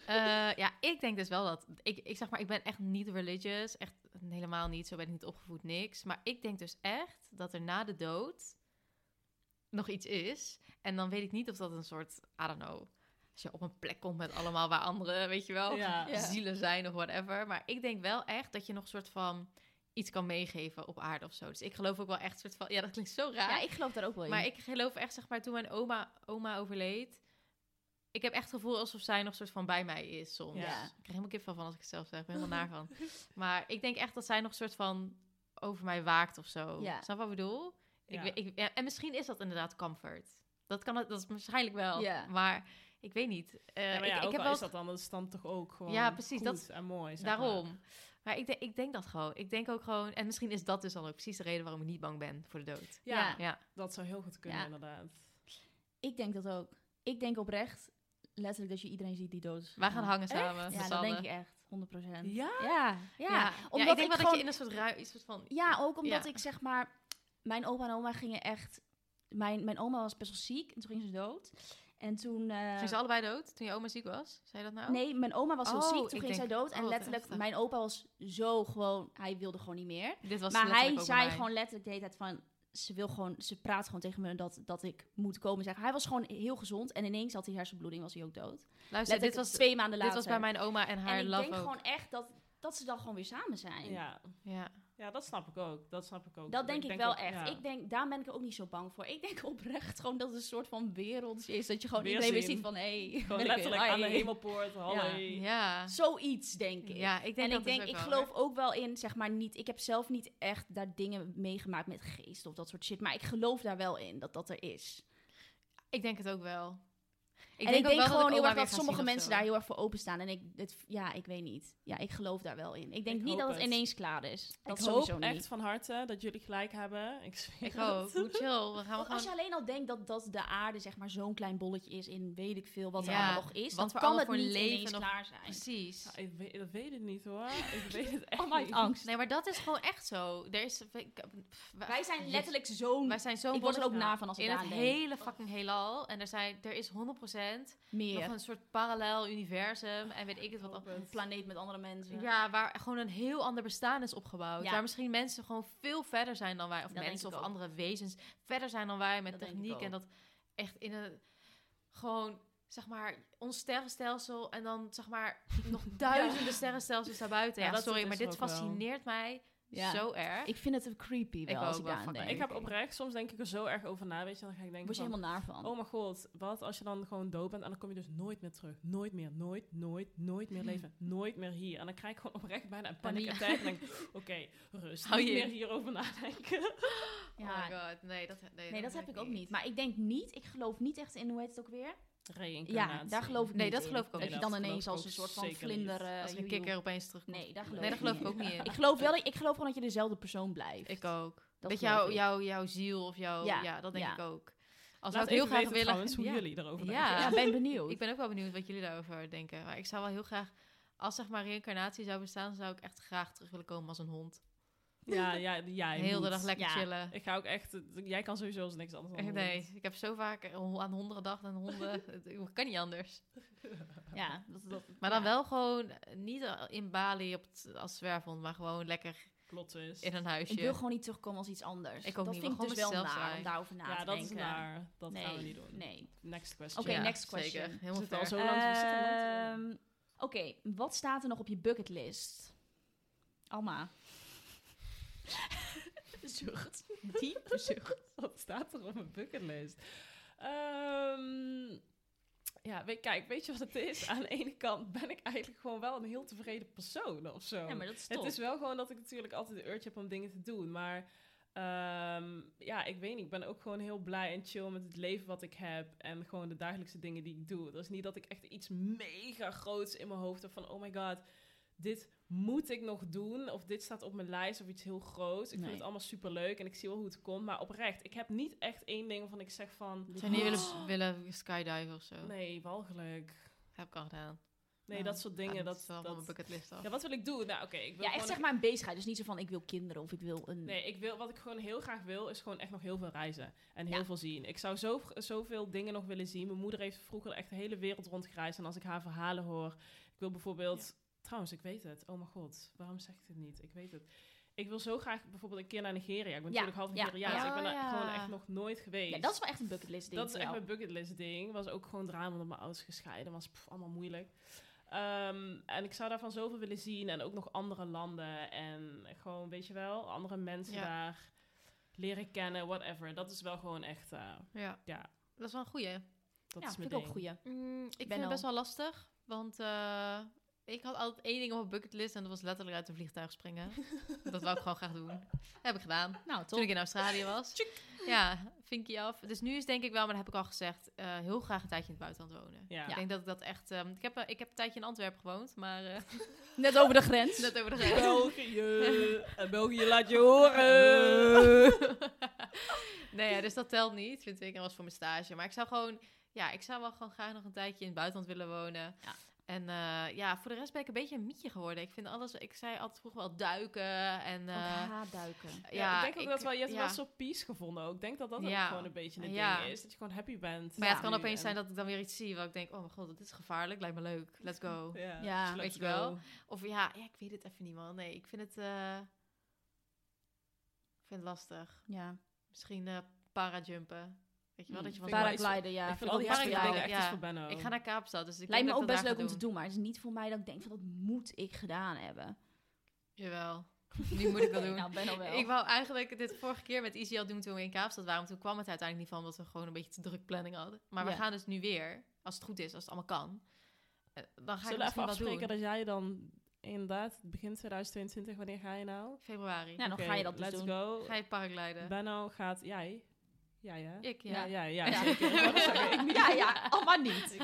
[SPEAKER 2] Eh, ja, ik denk dus wel dat. Ik, ik zeg maar, ik ben echt niet religious. Echt helemaal niet. Zo ben ik niet opgevoed, niks. Maar ik denk dus echt dat er na de dood nog iets is. En dan weet ik niet of dat een soort, I don't know. Als je op een plek komt met allemaal waar anderen, weet je wel,
[SPEAKER 3] Ja.
[SPEAKER 4] Ja.
[SPEAKER 2] zielen zijn of whatever. Maar ik denk wel echt dat je nog een soort van iets kan meegeven op aarde of zo. Dus ik geloof ook wel echt een soort van. Ja, dat klinkt zo raar.
[SPEAKER 4] Ja, ik geloof daar ook wel in.
[SPEAKER 2] Maar ik geloof echt, zeg maar, toen mijn oma, oma overleed... Ik heb echt het gevoel alsof zij nog soort van bij mij is soms.
[SPEAKER 4] Ja.
[SPEAKER 2] Ik krijg helemaal kip van als ik het zelf zeg. Ik ben helemaal naar van. Maar ik denk echt dat zij nog soort van over mij waakt of zo.
[SPEAKER 4] Ja.
[SPEAKER 2] Snap je wat ik bedoel?
[SPEAKER 3] Ja.
[SPEAKER 2] Ik, weet- ik, ja, en misschien is dat inderdaad comfort. Dat kan het, dat is waarschijnlijk wel.
[SPEAKER 4] Ja.
[SPEAKER 2] Maar ik weet niet. Eh,
[SPEAKER 3] Ja, maar ja,
[SPEAKER 2] ik,
[SPEAKER 3] ook
[SPEAKER 2] ik heb
[SPEAKER 3] al
[SPEAKER 2] wel
[SPEAKER 3] is dat dan, dat is dan toch ook gewoon
[SPEAKER 2] Ja, precies,
[SPEAKER 3] goed
[SPEAKER 2] dat-
[SPEAKER 3] en mooi. zeg
[SPEAKER 2] Daarom.
[SPEAKER 3] maar.
[SPEAKER 2] Maar ik, denk- ik denk dat gewoon. Ik denk ook gewoon... En misschien is dat dus dan ook precies de reden waarom ik niet bang ben voor de dood.
[SPEAKER 3] Ja,
[SPEAKER 4] Ja.
[SPEAKER 2] Ja.
[SPEAKER 3] dat zou heel goed kunnen
[SPEAKER 4] Ja.
[SPEAKER 3] inderdaad.
[SPEAKER 4] Ik denk dat ook. Ik denk oprecht, letterlijk dat je iedereen ziet die dood is.
[SPEAKER 2] Wij gaan
[SPEAKER 4] gegaan.
[SPEAKER 2] hangen samen.
[SPEAKER 4] Ja,
[SPEAKER 2] met
[SPEAKER 4] dat
[SPEAKER 2] z'n
[SPEAKER 4] denk
[SPEAKER 2] allen.
[SPEAKER 4] ik echt. 100 procent.
[SPEAKER 3] Ja?
[SPEAKER 4] Ja, ja.
[SPEAKER 2] Omdat
[SPEAKER 4] Omdat
[SPEAKER 2] ik denk
[SPEAKER 4] ik
[SPEAKER 2] wel dat
[SPEAKER 4] gewoon-
[SPEAKER 2] je in een soort ruis, iets soort van...
[SPEAKER 4] Ja, ook omdat
[SPEAKER 2] Ja.
[SPEAKER 4] ik zeg maar... Mijn opa en oma gingen echt... Mijn, mijn oma was best wel ziek en toen ging ze dood. En toen... eh,
[SPEAKER 2] Zijn ze allebei dood toen je oma ziek was? Zei je dat nou?
[SPEAKER 4] Nee, mijn oma was heel
[SPEAKER 2] Oh,
[SPEAKER 4] ziek, toen
[SPEAKER 2] ik
[SPEAKER 4] ging zij
[SPEAKER 2] denk,
[SPEAKER 4] dood.
[SPEAKER 2] oh,
[SPEAKER 4] En
[SPEAKER 2] wat
[SPEAKER 4] letterlijk,
[SPEAKER 2] heftig.
[SPEAKER 4] mijn opa was zo gewoon... Hij wilde gewoon niet meer.
[SPEAKER 2] Dit was
[SPEAKER 4] maar
[SPEAKER 2] letterlijk
[SPEAKER 4] hij
[SPEAKER 2] ook bij
[SPEAKER 4] zei
[SPEAKER 2] mij.
[SPEAKER 4] gewoon letterlijk de hele tijd van... Ze, wil gewoon, ze praat gewoon tegen me dat, dat ik moet komen zeggen. Hij was gewoon heel gezond. En ineens had hij hersenbloeding, was hij ook dood.
[SPEAKER 2] Luister,
[SPEAKER 4] Letterlijk
[SPEAKER 2] Dus dit was,
[SPEAKER 4] twee maanden
[SPEAKER 2] dit
[SPEAKER 4] later.
[SPEAKER 2] was bij mijn oma en haar
[SPEAKER 4] En ik
[SPEAKER 2] love
[SPEAKER 4] denk
[SPEAKER 2] ook.
[SPEAKER 4] gewoon echt dat, dat ze dan gewoon weer samen zijn.
[SPEAKER 3] Ja.
[SPEAKER 2] Ja.
[SPEAKER 3] ja, dat snap ik ook. Dat snap ik ook.
[SPEAKER 4] Dat denk ik, wel
[SPEAKER 3] ook-
[SPEAKER 4] echt.
[SPEAKER 3] ja.
[SPEAKER 4] Ik denk, daar ben ik er ook niet zo bang voor. Ik denk oprecht gewoon dat het een soort van wereldje is. Dat je gewoon
[SPEAKER 3] Weer
[SPEAKER 4] iedereen weer
[SPEAKER 3] zien.
[SPEAKER 4] ziet van, hé, hey,
[SPEAKER 3] Gewoon letterlijk aan de hemelpoort. Hallo.
[SPEAKER 4] Ja.
[SPEAKER 2] Ja.
[SPEAKER 4] Zoiets, denk ik.
[SPEAKER 2] ja, ik denk
[SPEAKER 4] en
[SPEAKER 2] dat
[SPEAKER 4] ik
[SPEAKER 2] dus
[SPEAKER 4] denk,
[SPEAKER 2] ook
[SPEAKER 4] ik
[SPEAKER 2] wel,
[SPEAKER 4] geloof
[SPEAKER 2] hoor.
[SPEAKER 4] ook wel in, zeg maar niet. Ik heb zelf niet echt daar dingen meegemaakt met geest of dat soort shit. Maar ik geloof daar wel in dat dat er is.
[SPEAKER 2] Ik denk het ook wel.
[SPEAKER 4] en ik
[SPEAKER 2] ook
[SPEAKER 4] denk
[SPEAKER 2] wel
[SPEAKER 4] gewoon
[SPEAKER 2] ik
[SPEAKER 4] heel
[SPEAKER 2] oma
[SPEAKER 4] erg
[SPEAKER 2] weer
[SPEAKER 4] dat
[SPEAKER 2] ga
[SPEAKER 4] sommige
[SPEAKER 2] zien of
[SPEAKER 4] mensen
[SPEAKER 2] zo.
[SPEAKER 4] daar heel erg voor openstaan. En ik, het, ja, ik weet niet. Ja, ik geloof daar wel in. Ik denk
[SPEAKER 3] Ik
[SPEAKER 4] niet
[SPEAKER 3] hoop
[SPEAKER 4] dat het
[SPEAKER 3] het.
[SPEAKER 4] ineens klaar is. Dat
[SPEAKER 3] ik hoop
[SPEAKER 4] sowieso niet.
[SPEAKER 3] echt van harte dat jullie gelijk hebben. Ik zweer
[SPEAKER 2] Ik
[SPEAKER 3] het.
[SPEAKER 2] ook. Hoe chill. We gaan
[SPEAKER 4] Want als je
[SPEAKER 2] gewoon...
[SPEAKER 4] alleen al denkt dat, dat de aarde zeg maar zo'n klein bolletje is in weet ik veel wat er
[SPEAKER 2] Ja,
[SPEAKER 4] allemaal nog is,
[SPEAKER 2] wat
[SPEAKER 4] dan
[SPEAKER 2] voor
[SPEAKER 4] kan
[SPEAKER 2] allemaal
[SPEAKER 4] het
[SPEAKER 2] voor
[SPEAKER 4] niet
[SPEAKER 2] leven
[SPEAKER 4] ineens
[SPEAKER 2] nog-
[SPEAKER 4] klaar zijn.
[SPEAKER 2] Precies.
[SPEAKER 3] Ja, ik weet, dat weet ik niet hoor. Ik weet het echt
[SPEAKER 4] Oh my
[SPEAKER 3] niet.
[SPEAKER 4] angst.
[SPEAKER 2] Nee, maar dat is gewoon echt zo. Er is, ik- pff, wa-
[SPEAKER 4] Wij zijn
[SPEAKER 2] Jezus.
[SPEAKER 4] letterlijk zo'n
[SPEAKER 2] Wij zijn zo'n
[SPEAKER 4] Ik word er ook
[SPEAKER 2] bolletje.
[SPEAKER 4] naar van als ik
[SPEAKER 2] In het
[SPEAKER 4] daaraan denk.
[SPEAKER 2] hele fucking heelal. En er, zijn, er is 100% nog
[SPEAKER 4] meer
[SPEAKER 2] een soort parallel universum. En weet ik het wat al.
[SPEAKER 4] een planeet met andere mensen.
[SPEAKER 2] Ja, waar gewoon een heel ander bestaan is opgebouwd.
[SPEAKER 4] Ja.
[SPEAKER 2] Waar misschien mensen gewoon veel verder zijn dan wij. Of
[SPEAKER 4] Dat denk
[SPEAKER 2] mensen
[SPEAKER 4] ik
[SPEAKER 2] of
[SPEAKER 4] ook.
[SPEAKER 2] andere wezens verder zijn dan wij met
[SPEAKER 4] Dat denk ik
[SPEAKER 2] techniek. En
[SPEAKER 4] ook.
[SPEAKER 2] dat echt in een... Gewoon, zeg maar, ons sterrenstelsel. En dan, zeg maar, nog duizenden sterrenstelsels daarbuiten.
[SPEAKER 3] Ja,
[SPEAKER 2] Ja,
[SPEAKER 3] dat
[SPEAKER 2] sorry,
[SPEAKER 3] is
[SPEAKER 2] maar
[SPEAKER 3] er
[SPEAKER 2] dit
[SPEAKER 3] ook wel.
[SPEAKER 2] fascineert mij
[SPEAKER 4] dus Ja.
[SPEAKER 2] zo erg.
[SPEAKER 4] Ik vind het een creepy wel
[SPEAKER 2] Ik
[SPEAKER 4] als
[SPEAKER 2] ook
[SPEAKER 4] ik
[SPEAKER 2] wel,
[SPEAKER 4] daaraan
[SPEAKER 2] fuck
[SPEAKER 4] denk.
[SPEAKER 2] me.
[SPEAKER 3] Ik heb oprecht, soms denk ik er zo erg over na, weet je. Dan ga ik denken
[SPEAKER 4] Word je
[SPEAKER 3] van,
[SPEAKER 4] helemaal naar van.
[SPEAKER 3] Oh mijn god, wat als je dan gewoon dood bent en dan kom je dus nooit meer terug. Nooit meer, nooit, nooit, nooit meer leven. Nooit meer hier. En dan krijg ik gewoon oprecht bijna een
[SPEAKER 2] Paniek.
[SPEAKER 3] paniekattack. En denk ik, oké, rust.
[SPEAKER 2] Hou
[SPEAKER 3] niet
[SPEAKER 2] je
[SPEAKER 3] meer
[SPEAKER 2] in.
[SPEAKER 3] hierover nadenken.
[SPEAKER 2] Oh my god, nee, dat,
[SPEAKER 4] nee, dat
[SPEAKER 2] doe
[SPEAKER 4] heb ik ook niet. Maar ik denk niet, ik geloof niet echt in, hoe heet het ook weer? Ja,
[SPEAKER 3] Reïncarnatie.
[SPEAKER 4] daar geloof ik
[SPEAKER 2] Nee,
[SPEAKER 4] niet
[SPEAKER 2] dat
[SPEAKER 4] in.
[SPEAKER 2] geloof ik ook
[SPEAKER 4] Dat
[SPEAKER 2] niet.
[SPEAKER 4] je dan
[SPEAKER 3] Dat
[SPEAKER 4] ineens
[SPEAKER 3] geloof ik
[SPEAKER 4] als een
[SPEAKER 3] ook
[SPEAKER 4] soort van
[SPEAKER 3] zeker
[SPEAKER 4] vlinder...
[SPEAKER 3] niet.
[SPEAKER 4] eh,
[SPEAKER 2] Als een
[SPEAKER 4] joejoe.
[SPEAKER 2] kikker opeens terugkomt.
[SPEAKER 4] Nee, daar geloof
[SPEAKER 2] Nee, daar
[SPEAKER 4] ik
[SPEAKER 2] geloof
[SPEAKER 4] niet
[SPEAKER 2] ik ook niet in.
[SPEAKER 4] Ik geloof wel, ik geloof gewoon dat je dezelfde persoon blijft.
[SPEAKER 2] Ik ook.
[SPEAKER 4] Dat
[SPEAKER 2] dat
[SPEAKER 4] geloof
[SPEAKER 2] jouw
[SPEAKER 4] ik.
[SPEAKER 2] jouw jouw ziel of jouw... Ja,
[SPEAKER 4] Ja,
[SPEAKER 2] dat denk
[SPEAKER 4] ja.
[SPEAKER 2] ik ook. Als zou
[SPEAKER 3] Laat
[SPEAKER 2] ik heel
[SPEAKER 3] even
[SPEAKER 2] graag
[SPEAKER 3] weten
[SPEAKER 2] willen...
[SPEAKER 3] trouwens hoe
[SPEAKER 2] Ja.
[SPEAKER 3] jullie daarover
[SPEAKER 2] Ja.
[SPEAKER 3] denken.
[SPEAKER 4] Ja, ben benieuwd.
[SPEAKER 2] Ik ben ook wel benieuwd wat jullie daarover denken. Maar ik zou wel heel graag... Als zeg maar reïncarnatie zou bestaan, zou ik echt graag terug willen komen als een hond.
[SPEAKER 3] Ja, ja, ja. je
[SPEAKER 2] Heel de
[SPEAKER 3] moet.
[SPEAKER 2] dag lekker
[SPEAKER 4] Ja.
[SPEAKER 2] chillen.
[SPEAKER 3] Ik ga ook echt... Jij kan sowieso als niks anders dan
[SPEAKER 2] nee,
[SPEAKER 3] doen.
[SPEAKER 2] ik heb zo vaak aan honden gedacht en honden. Het kan niet anders.
[SPEAKER 4] Ja, dat, dat,
[SPEAKER 2] Maar dan
[SPEAKER 4] ja.
[SPEAKER 2] wel gewoon eh, niet eh, in Bali op het, als zwerfhond, maar gewoon lekker
[SPEAKER 3] Plot twist.
[SPEAKER 2] in een huisje.
[SPEAKER 4] Ik wil gewoon niet terugkomen als iets anders.
[SPEAKER 2] Ik ook
[SPEAKER 4] dat
[SPEAKER 2] niet,
[SPEAKER 4] vind ik
[SPEAKER 2] maar
[SPEAKER 4] dus wel
[SPEAKER 2] gewoon
[SPEAKER 4] naar
[SPEAKER 2] mezelf zijn.
[SPEAKER 4] om daarover na
[SPEAKER 3] Ja,
[SPEAKER 4] te
[SPEAKER 3] dat
[SPEAKER 4] denken.
[SPEAKER 3] is naar. Dat
[SPEAKER 4] nee,
[SPEAKER 3] gaan we niet doen.
[SPEAKER 4] Nee.
[SPEAKER 3] Next question.
[SPEAKER 4] Oké, next question.
[SPEAKER 2] Zeker.
[SPEAKER 3] Is
[SPEAKER 2] Helemaal
[SPEAKER 3] het al
[SPEAKER 2] ver.
[SPEAKER 3] zo lang? Is het al lang te doen?
[SPEAKER 4] Ehm, Oké, wat staat er nog op je bucketlist? Alma. Zucht. Diepe zucht.
[SPEAKER 3] Wat staat er op mijn bucketlist? Ehm, ja, weet, kijk, weet je wat het is? Aan de ene kant ben ik eigenlijk gewoon wel een heel tevreden persoon of zo.
[SPEAKER 4] Ja, maar dat is
[SPEAKER 3] het
[SPEAKER 4] top.
[SPEAKER 3] is wel gewoon dat ik natuurlijk altijd de urge heb om dingen te doen. Maar ehm, ja, ik weet niet. Ik ben ook gewoon heel blij en chill met het leven wat ik heb. En gewoon de dagelijkse dingen die ik doe. Dat is niet dat ik echt iets mega groots in mijn hoofd heb van... Oh my god, dit moet ik nog doen. Of dit staat op mijn lijst of iets heel groots. Ik
[SPEAKER 4] Nee.
[SPEAKER 3] vind het allemaal super leuk en ik zie wel hoe het komt. Maar oprecht, ik heb niet echt één ding waarvan ik zeg van...
[SPEAKER 2] Zou je niet willen, willen skydiven of zo?
[SPEAKER 3] Nee, walgelijk.
[SPEAKER 2] Heb ik al gedaan.
[SPEAKER 3] Nee,
[SPEAKER 4] Nou,
[SPEAKER 3] dat soort dingen.
[SPEAKER 2] Gaat
[SPEAKER 3] Dat,
[SPEAKER 2] niet wel van mijn
[SPEAKER 3] dat...
[SPEAKER 2] bucketlist af.
[SPEAKER 3] Ja, wat wil ik doen? Nou, oké. ik wil
[SPEAKER 4] Ja, echt
[SPEAKER 3] gewoon
[SPEAKER 4] zeg maar een bezigheid. Dus niet zo van ik wil kinderen of ik wil een...
[SPEAKER 3] Nee, ik wil, wat ik gewoon heel graag wil, is gewoon echt nog heel veel reizen. En heel
[SPEAKER 4] Ja.
[SPEAKER 3] veel zien. Ik zou zo, zoveel dingen nog willen zien. Mijn moeder heeft vroeger echt de hele wereld rondgereisd. En als ik haar verhalen hoor... Ik wil bijvoorbeeld... Trouwens, ik weet het. Oh mijn god, waarom zeg ik dit niet? Ik weet het. Ik wil zo graag bijvoorbeeld een keer naar Nigeria. Ik ben
[SPEAKER 4] Ja,
[SPEAKER 3] natuurlijk half
[SPEAKER 4] ja,
[SPEAKER 3] Nigeriaans. dus
[SPEAKER 2] ja.
[SPEAKER 3] Ik ben
[SPEAKER 2] Oh,
[SPEAKER 3] daar
[SPEAKER 2] ja.
[SPEAKER 3] gewoon echt nog nooit geweest.
[SPEAKER 4] Ja, dat is wel echt een bucketlist ding
[SPEAKER 3] Dat is
[SPEAKER 4] voor
[SPEAKER 3] echt
[SPEAKER 4] jou.
[SPEAKER 3] mijn bucketlist ding. Was ook gewoon drama omdat mijn ouders gescheiden was. Pff, allemaal moeilijk. Ehm, en ik zou daarvan zoveel willen zien. En ook nog andere landen. En gewoon, weet je wel, andere mensen
[SPEAKER 2] Ja.
[SPEAKER 3] daar leren kennen, whatever. Dat is wel gewoon echt, eh,
[SPEAKER 2] Ja.
[SPEAKER 3] ja,
[SPEAKER 2] Dat is wel een goeie.
[SPEAKER 3] dat
[SPEAKER 4] ja,
[SPEAKER 3] is mijn
[SPEAKER 4] vind ik ook
[SPEAKER 3] ding.
[SPEAKER 4] een goeie.
[SPEAKER 2] Mm, ik vind
[SPEAKER 4] ben
[SPEAKER 2] het
[SPEAKER 4] al-
[SPEAKER 2] best wel lastig, want eh, ik had altijd één ding op mijn bucketlist en dat was letterlijk uit een vliegtuig springen. dat wou ik gewoon graag doen. heb ik gedaan.
[SPEAKER 4] Nou,
[SPEAKER 2] Toen
[SPEAKER 4] toch?
[SPEAKER 2] ik in Australië was. Ja, vinkie af. Dus nu is denk ik wel, maar dat heb ik al gezegd, eh, heel graag een tijdje in het buitenland wonen.
[SPEAKER 3] Ja.
[SPEAKER 2] Ik denk dat ik dat echt... ehm, ik, heb, eh, ik heb een tijdje in Antwerpen gewoond, maar eh,
[SPEAKER 4] Net over de grens.
[SPEAKER 2] net over de grens.
[SPEAKER 3] België, en België laat je horen.
[SPEAKER 2] nee, ja, dus dat telt niet, vind ik. En was voor mijn stage. Maar ik zou gewoon ja, ik zou wel gewoon graag nog een tijdje in het buitenland willen wonen.
[SPEAKER 4] Ja.
[SPEAKER 2] En eh, ja, voor de rest ben ik een beetje een mietje geworden. Ik vind alles, ik zei altijd vroeger wel duiken en...
[SPEAKER 4] Ook
[SPEAKER 2] eh,
[SPEAKER 4] haatduiken.
[SPEAKER 2] ja,
[SPEAKER 3] Ja, ik denk ook dat wel, je hebt
[SPEAKER 2] ja.
[SPEAKER 3] wel zo'n peace gevonden ook. Ik denk dat dat
[SPEAKER 2] Ja.
[SPEAKER 3] ook gewoon een beetje een
[SPEAKER 2] Ja.
[SPEAKER 3] ding is. Dat je gewoon happy bent.
[SPEAKER 2] Maar ja, het kan
[SPEAKER 3] nu
[SPEAKER 2] opeens
[SPEAKER 3] en-
[SPEAKER 2] zijn dat ik dan weer iets zie waar ik denk, oh mijn god, dit is gevaarlijk, lijkt me leuk, let's go.
[SPEAKER 3] Ja,
[SPEAKER 4] Ja.
[SPEAKER 3] dus let's
[SPEAKER 2] Weet je wel?
[SPEAKER 3] go.
[SPEAKER 2] Of ja, ja, ik weet het even niet man. Nee, ik vind het, eh, ik vind het lastig.
[SPEAKER 4] Ja.
[SPEAKER 2] Misschien eh parajumpen. Weet je wel,
[SPEAKER 3] Mm,
[SPEAKER 2] dat je van...
[SPEAKER 3] vind ik wel iets-
[SPEAKER 4] Paragliden, ja.
[SPEAKER 3] ik vind al die
[SPEAKER 2] ook
[SPEAKER 3] happy
[SPEAKER 2] park-
[SPEAKER 3] dingen echt
[SPEAKER 2] ja.
[SPEAKER 3] iets voor Benno.
[SPEAKER 2] Ik ga naar Kaapstad, dus ik
[SPEAKER 4] Lijkt me
[SPEAKER 2] denk
[SPEAKER 4] ook
[SPEAKER 2] dat ik dat
[SPEAKER 4] best leuk
[SPEAKER 2] daar ga
[SPEAKER 4] om te doen, maar het is niet voor mij dat ik denk van dat moet ik gedaan hebben.
[SPEAKER 2] Jawel, nu moet ik dat doen.
[SPEAKER 4] Nou, ben al wel.
[SPEAKER 2] Ik wou eigenlijk dit vorige keer met Easy al doen toen we in Kaapstad waren. maar Toen kwam het uiteindelijk niet van, omdat we gewoon een beetje te druk planning hadden. Maar we
[SPEAKER 4] Ja.
[SPEAKER 2] gaan dus nu weer, als het goed is, als het allemaal kan. Eh, Dan ga ik
[SPEAKER 3] Zullen we even
[SPEAKER 2] misschien wel
[SPEAKER 3] afspreken
[SPEAKER 2] doen.
[SPEAKER 3] dat jij dan inderdaad begin 2022, wanneer ga je nou?
[SPEAKER 2] Februari.
[SPEAKER 4] Ja, dan
[SPEAKER 3] Oké,
[SPEAKER 4] ga je dat dus
[SPEAKER 3] let's
[SPEAKER 4] doen.
[SPEAKER 3] go.
[SPEAKER 2] Ga je paraglijden?
[SPEAKER 3] Benno gaat... Jij? Jij, hè?
[SPEAKER 2] Ik, ja.
[SPEAKER 3] Ja, ja, ja.
[SPEAKER 2] Ja.
[SPEAKER 3] zeker. Ik wou dat zeggen, ik niet.
[SPEAKER 4] Ja, ja, allemaal niet.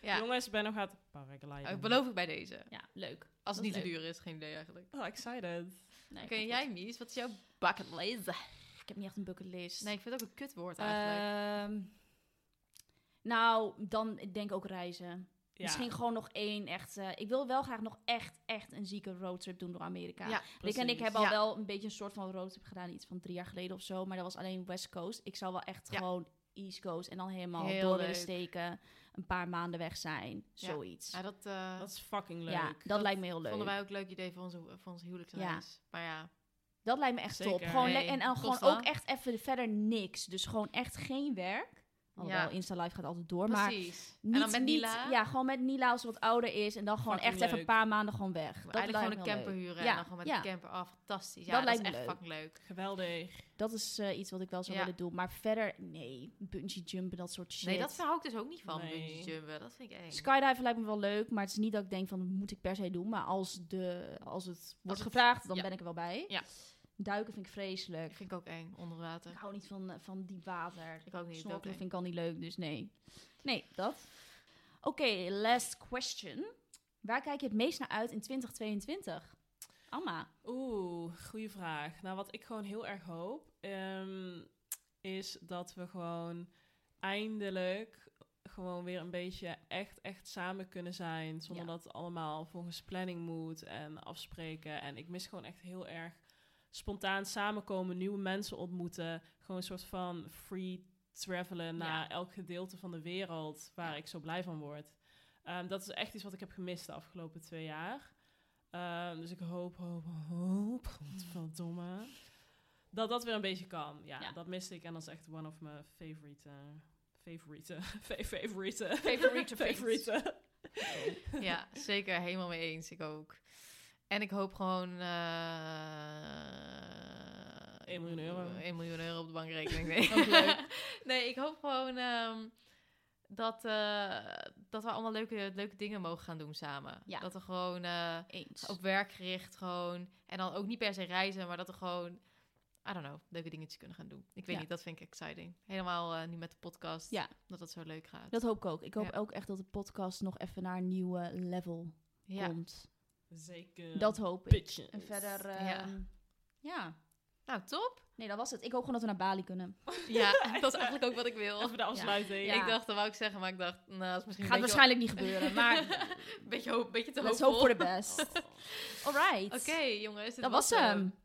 [SPEAKER 2] Ja.
[SPEAKER 3] Jongens, Benno gaat paragliden.
[SPEAKER 2] Oh, ik beloof ik bij deze.
[SPEAKER 4] Ja, leuk.
[SPEAKER 2] Als het
[SPEAKER 4] Dat
[SPEAKER 2] niet
[SPEAKER 4] is
[SPEAKER 2] te duur is, geen idee eigenlijk.
[SPEAKER 3] Oh, excited.
[SPEAKER 4] Nee,
[SPEAKER 2] Oké,
[SPEAKER 4] komt
[SPEAKER 2] jij
[SPEAKER 4] goed.
[SPEAKER 2] Mies, wat is jouw bucketlist?
[SPEAKER 4] Ik heb niet echt een bucketlist.
[SPEAKER 2] Nee, ik vind het ook een kutwoord eigenlijk.
[SPEAKER 4] Ehm, nou, dan ik denk ook reizen.
[SPEAKER 3] Ja,
[SPEAKER 4] Misschien gewoon nog één echt... eh, ik wil wel graag nog echt, echt een zieke roadtrip doen door Amerika.
[SPEAKER 2] Ja,
[SPEAKER 4] Rick en ik
[SPEAKER 3] precies.
[SPEAKER 4] hebben al
[SPEAKER 2] Ja.
[SPEAKER 4] wel een beetje een soort van roadtrip gedaan. Iets van drie jaar geleden of zo. Maar dat was alleen West Coast. Ik zou wel echt
[SPEAKER 2] Ja.
[SPEAKER 4] gewoon East Coast en dan helemaal
[SPEAKER 2] Heel
[SPEAKER 4] door willen
[SPEAKER 2] leuk.
[SPEAKER 4] steken. Een paar maanden weg zijn.
[SPEAKER 2] Ja.
[SPEAKER 4] Zoiets.
[SPEAKER 2] Ja,
[SPEAKER 4] Ja,
[SPEAKER 2] dat, eh,
[SPEAKER 3] Dat is fucking leuk.
[SPEAKER 4] dat, lijkt me heel leuk.
[SPEAKER 2] vonden wij ook een leuk idee voor, onze, voor ons huwelijksreis. Maar ja,
[SPEAKER 4] Dat lijkt me echt top.
[SPEAKER 3] Zeker.
[SPEAKER 4] Gewoon le-
[SPEAKER 2] Nee,
[SPEAKER 4] en dan gewoon
[SPEAKER 2] kost wel.
[SPEAKER 4] ook echt even verder niks. Dus gewoon echt geen werk. Alhoewel,
[SPEAKER 2] Ja.
[SPEAKER 4] Insta Live gaat altijd door. Maar
[SPEAKER 2] precies.
[SPEAKER 4] niet,
[SPEAKER 2] en dan met
[SPEAKER 4] niet-
[SPEAKER 2] Nila.
[SPEAKER 4] ja, gewoon met Nila als ze wat ouder is. En dan gewoon
[SPEAKER 3] Fucking
[SPEAKER 4] echt even een
[SPEAKER 3] leuk.
[SPEAKER 4] paar maanden gewoon weg.
[SPEAKER 2] eigenlijk
[SPEAKER 4] Dat lijkt
[SPEAKER 2] gewoon een
[SPEAKER 4] me heel
[SPEAKER 2] camper
[SPEAKER 4] leuk.
[SPEAKER 2] huren
[SPEAKER 4] Ja,
[SPEAKER 2] en dan gewoon met
[SPEAKER 4] ja.
[SPEAKER 2] de camper. af fantastisch. Ja,
[SPEAKER 4] Dat
[SPEAKER 2] dat,
[SPEAKER 4] lijkt me
[SPEAKER 2] is echt
[SPEAKER 4] leuk.
[SPEAKER 2] fucking leuk.
[SPEAKER 3] Geweldig.
[SPEAKER 4] Dat is eh, iets wat ik wel zou
[SPEAKER 2] Ja.
[SPEAKER 4] willen doen. Maar verder, nee. Bungee jumpen, dat soort shit.
[SPEAKER 2] Nee, dat hou ik dus ook niet van,
[SPEAKER 3] Nee.
[SPEAKER 2] bungee jumpen. Dat vind ik eng.
[SPEAKER 4] Skydiven lijkt me wel leuk, maar het is niet dat ik denk van dat moet ik per se doen. Maar als, de, als het wordt
[SPEAKER 2] het-
[SPEAKER 4] gevraagd, dan
[SPEAKER 2] ja.
[SPEAKER 4] ben ik er wel bij.
[SPEAKER 2] Ja.
[SPEAKER 4] Duiken vind ik vreselijk.
[SPEAKER 2] Dat vind ik ook eng, onder
[SPEAKER 4] Ik
[SPEAKER 2] water.
[SPEAKER 4] hou niet van, eh, van diep water.
[SPEAKER 2] Ik ook niet. dat ook
[SPEAKER 4] Snorkelen
[SPEAKER 2] eng.
[SPEAKER 4] vind ik al niet leuk, dus nee. Nee, dat. Oké, last question. Waar kijk je het meest naar uit in 2022? Amma.
[SPEAKER 3] Oeh, goede vraag. Nou, wat ik gewoon heel erg hoop, ehm, is dat we gewoon eindelijk gewoon weer een beetje echt, echt samen kunnen zijn. Zonder
[SPEAKER 4] Ja.
[SPEAKER 3] dat het allemaal volgens planning moet en afspreken. En ik mis gewoon echt heel erg spontaan samenkomen, nieuwe mensen ontmoeten. Gewoon een soort van free travelen naar elk gedeelte van de wereld waar ik zo blij van word. Ehm, dat is echt iets wat ik heb gemist de afgelopen twee jaar. Ehm, dus ik hoop, hoop, hoop, godverdomme, dat dat weer een beetje kan. Ja,
[SPEAKER 4] Ja.
[SPEAKER 3] dat miste ik en dat is echt one of my favorite, eh, favorite, fa- favorite,
[SPEAKER 4] Favorite things.
[SPEAKER 3] favorite.
[SPEAKER 2] Ja, zeker. Helemaal mee eens. Ik ook. En ik hoop gewoon... eh
[SPEAKER 3] 1 miljoen euro.
[SPEAKER 2] 1 miljoen euro op de bankrekening. Nee,
[SPEAKER 3] Ook leuk.
[SPEAKER 2] nee ik hoop gewoon ehm, dat, eh, dat we allemaal leuke, leuke dingen mogen gaan doen samen.
[SPEAKER 4] Ja.
[SPEAKER 2] Dat we gewoon... eh,
[SPEAKER 4] Eens. Oh,
[SPEAKER 2] Op werk gericht gewoon. En dan ook niet per se reizen, maar dat we gewoon, I don't know, leuke dingetjes kunnen gaan doen. Ik weet
[SPEAKER 4] Ja.
[SPEAKER 2] niet, dat vind ik exciting. Helemaal eh, nu met de podcast.
[SPEAKER 4] Ja.
[SPEAKER 2] Dat dat zo leuk gaat.
[SPEAKER 4] Dat hoop ik ook. Ik hoop
[SPEAKER 2] Ja.
[SPEAKER 4] ook echt dat de podcast nog even naar een nieuwe level
[SPEAKER 2] ja.
[SPEAKER 4] komt.
[SPEAKER 3] Zeker.
[SPEAKER 4] Dat hoop ik.
[SPEAKER 3] bitches.
[SPEAKER 4] En verder,
[SPEAKER 2] Ja.
[SPEAKER 4] ehm, ja.
[SPEAKER 2] Nou, top.
[SPEAKER 4] Nee, dat was het. Ik hoop gewoon dat we naar Bali kunnen.
[SPEAKER 2] Ja, dat is eigenlijk ook wat ik wil.
[SPEAKER 3] Even de afsluiting.
[SPEAKER 4] Ja.
[SPEAKER 2] Ik dacht, dat wou ik zeggen, maar ik dacht, nou, dat is misschien
[SPEAKER 4] Gaat
[SPEAKER 2] een beetje,
[SPEAKER 4] waarschijnlijk niet gebeuren, maar
[SPEAKER 2] een beetje, hoop, beetje te
[SPEAKER 4] let's
[SPEAKER 2] hoopvol.
[SPEAKER 4] hope for the best. Alright.
[SPEAKER 2] Oké, jongens. dit eh,
[SPEAKER 4] Dat was hem.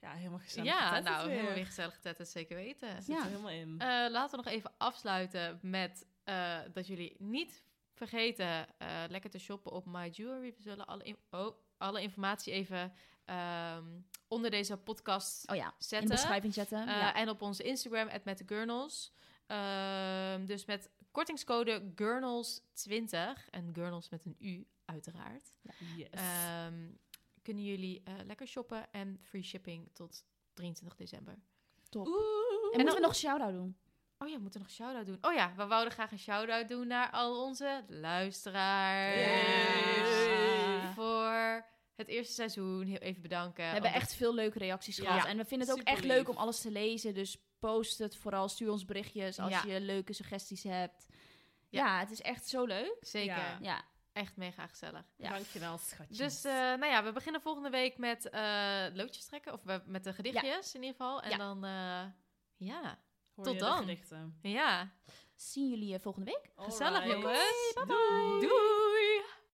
[SPEAKER 3] Ja, helemaal gezellig.
[SPEAKER 2] Ja,
[SPEAKER 3] getest
[SPEAKER 2] nou,
[SPEAKER 3] weer.
[SPEAKER 2] helemaal weer gezellig getest, zeker weten.
[SPEAKER 3] Zit er
[SPEAKER 4] Ja.
[SPEAKER 3] helemaal in.
[SPEAKER 2] Eh, laten we nog even afsluiten met eh, dat jullie niet vergeten eh, lekker te shoppen op My Jewelry. We zullen alle, in- oh, alle informatie even ehm, onder deze podcast
[SPEAKER 4] Oh ja, in de
[SPEAKER 2] zetten.
[SPEAKER 4] beschrijving zetten.
[SPEAKER 2] Eh,
[SPEAKER 4] ja.
[SPEAKER 2] En op onze Instagram, @metthegurnals. Ehm, dus met kortingscode GURNALS20 en GURNALS met een U uiteraard.
[SPEAKER 3] Yes.
[SPEAKER 2] Ehm, kunnen jullie eh, lekker shoppen en free shipping tot 23 december.
[SPEAKER 4] Top.
[SPEAKER 3] Oeh.
[SPEAKER 4] En moeten we nog een shout-out doen?
[SPEAKER 2] Oh ja, we moeten nog een shout-out doen. Oh ja, we wouden graag een shout-out doen naar al onze luisteraars.
[SPEAKER 3] Yes.
[SPEAKER 2] Voor het eerste seizoen. Heel even bedanken.
[SPEAKER 4] we hebben echt veel leuke reacties
[SPEAKER 3] Ja.
[SPEAKER 4] gehad. En we vinden het ook echt
[SPEAKER 3] Superlief.
[SPEAKER 4] leuk om alles te lezen. Dus post het vooral. Stuur ons berichtjes als
[SPEAKER 2] Ja.
[SPEAKER 4] je leuke suggesties hebt. Ja.
[SPEAKER 2] Ja.
[SPEAKER 4] het is echt zo leuk.
[SPEAKER 2] Zeker.
[SPEAKER 3] Ja.
[SPEAKER 4] Ja,
[SPEAKER 2] Echt mega gezellig.
[SPEAKER 4] Ja.
[SPEAKER 3] Dankjewel, schatjes.
[SPEAKER 2] Dus eh, nou ja, we beginnen volgende week met eh, loodjes trekken. Of we- met de gedichtjes in ieder geval. En
[SPEAKER 4] Ja.
[SPEAKER 2] dan, eh, ja.
[SPEAKER 3] Hoor
[SPEAKER 2] tot
[SPEAKER 3] je de
[SPEAKER 2] dan.
[SPEAKER 3] gedichten?
[SPEAKER 2] Ja.
[SPEAKER 4] zien jullie eh, volgende week.
[SPEAKER 2] Gezellig,
[SPEAKER 3] Alright.
[SPEAKER 2] jongens.
[SPEAKER 3] Doei.
[SPEAKER 2] Doei.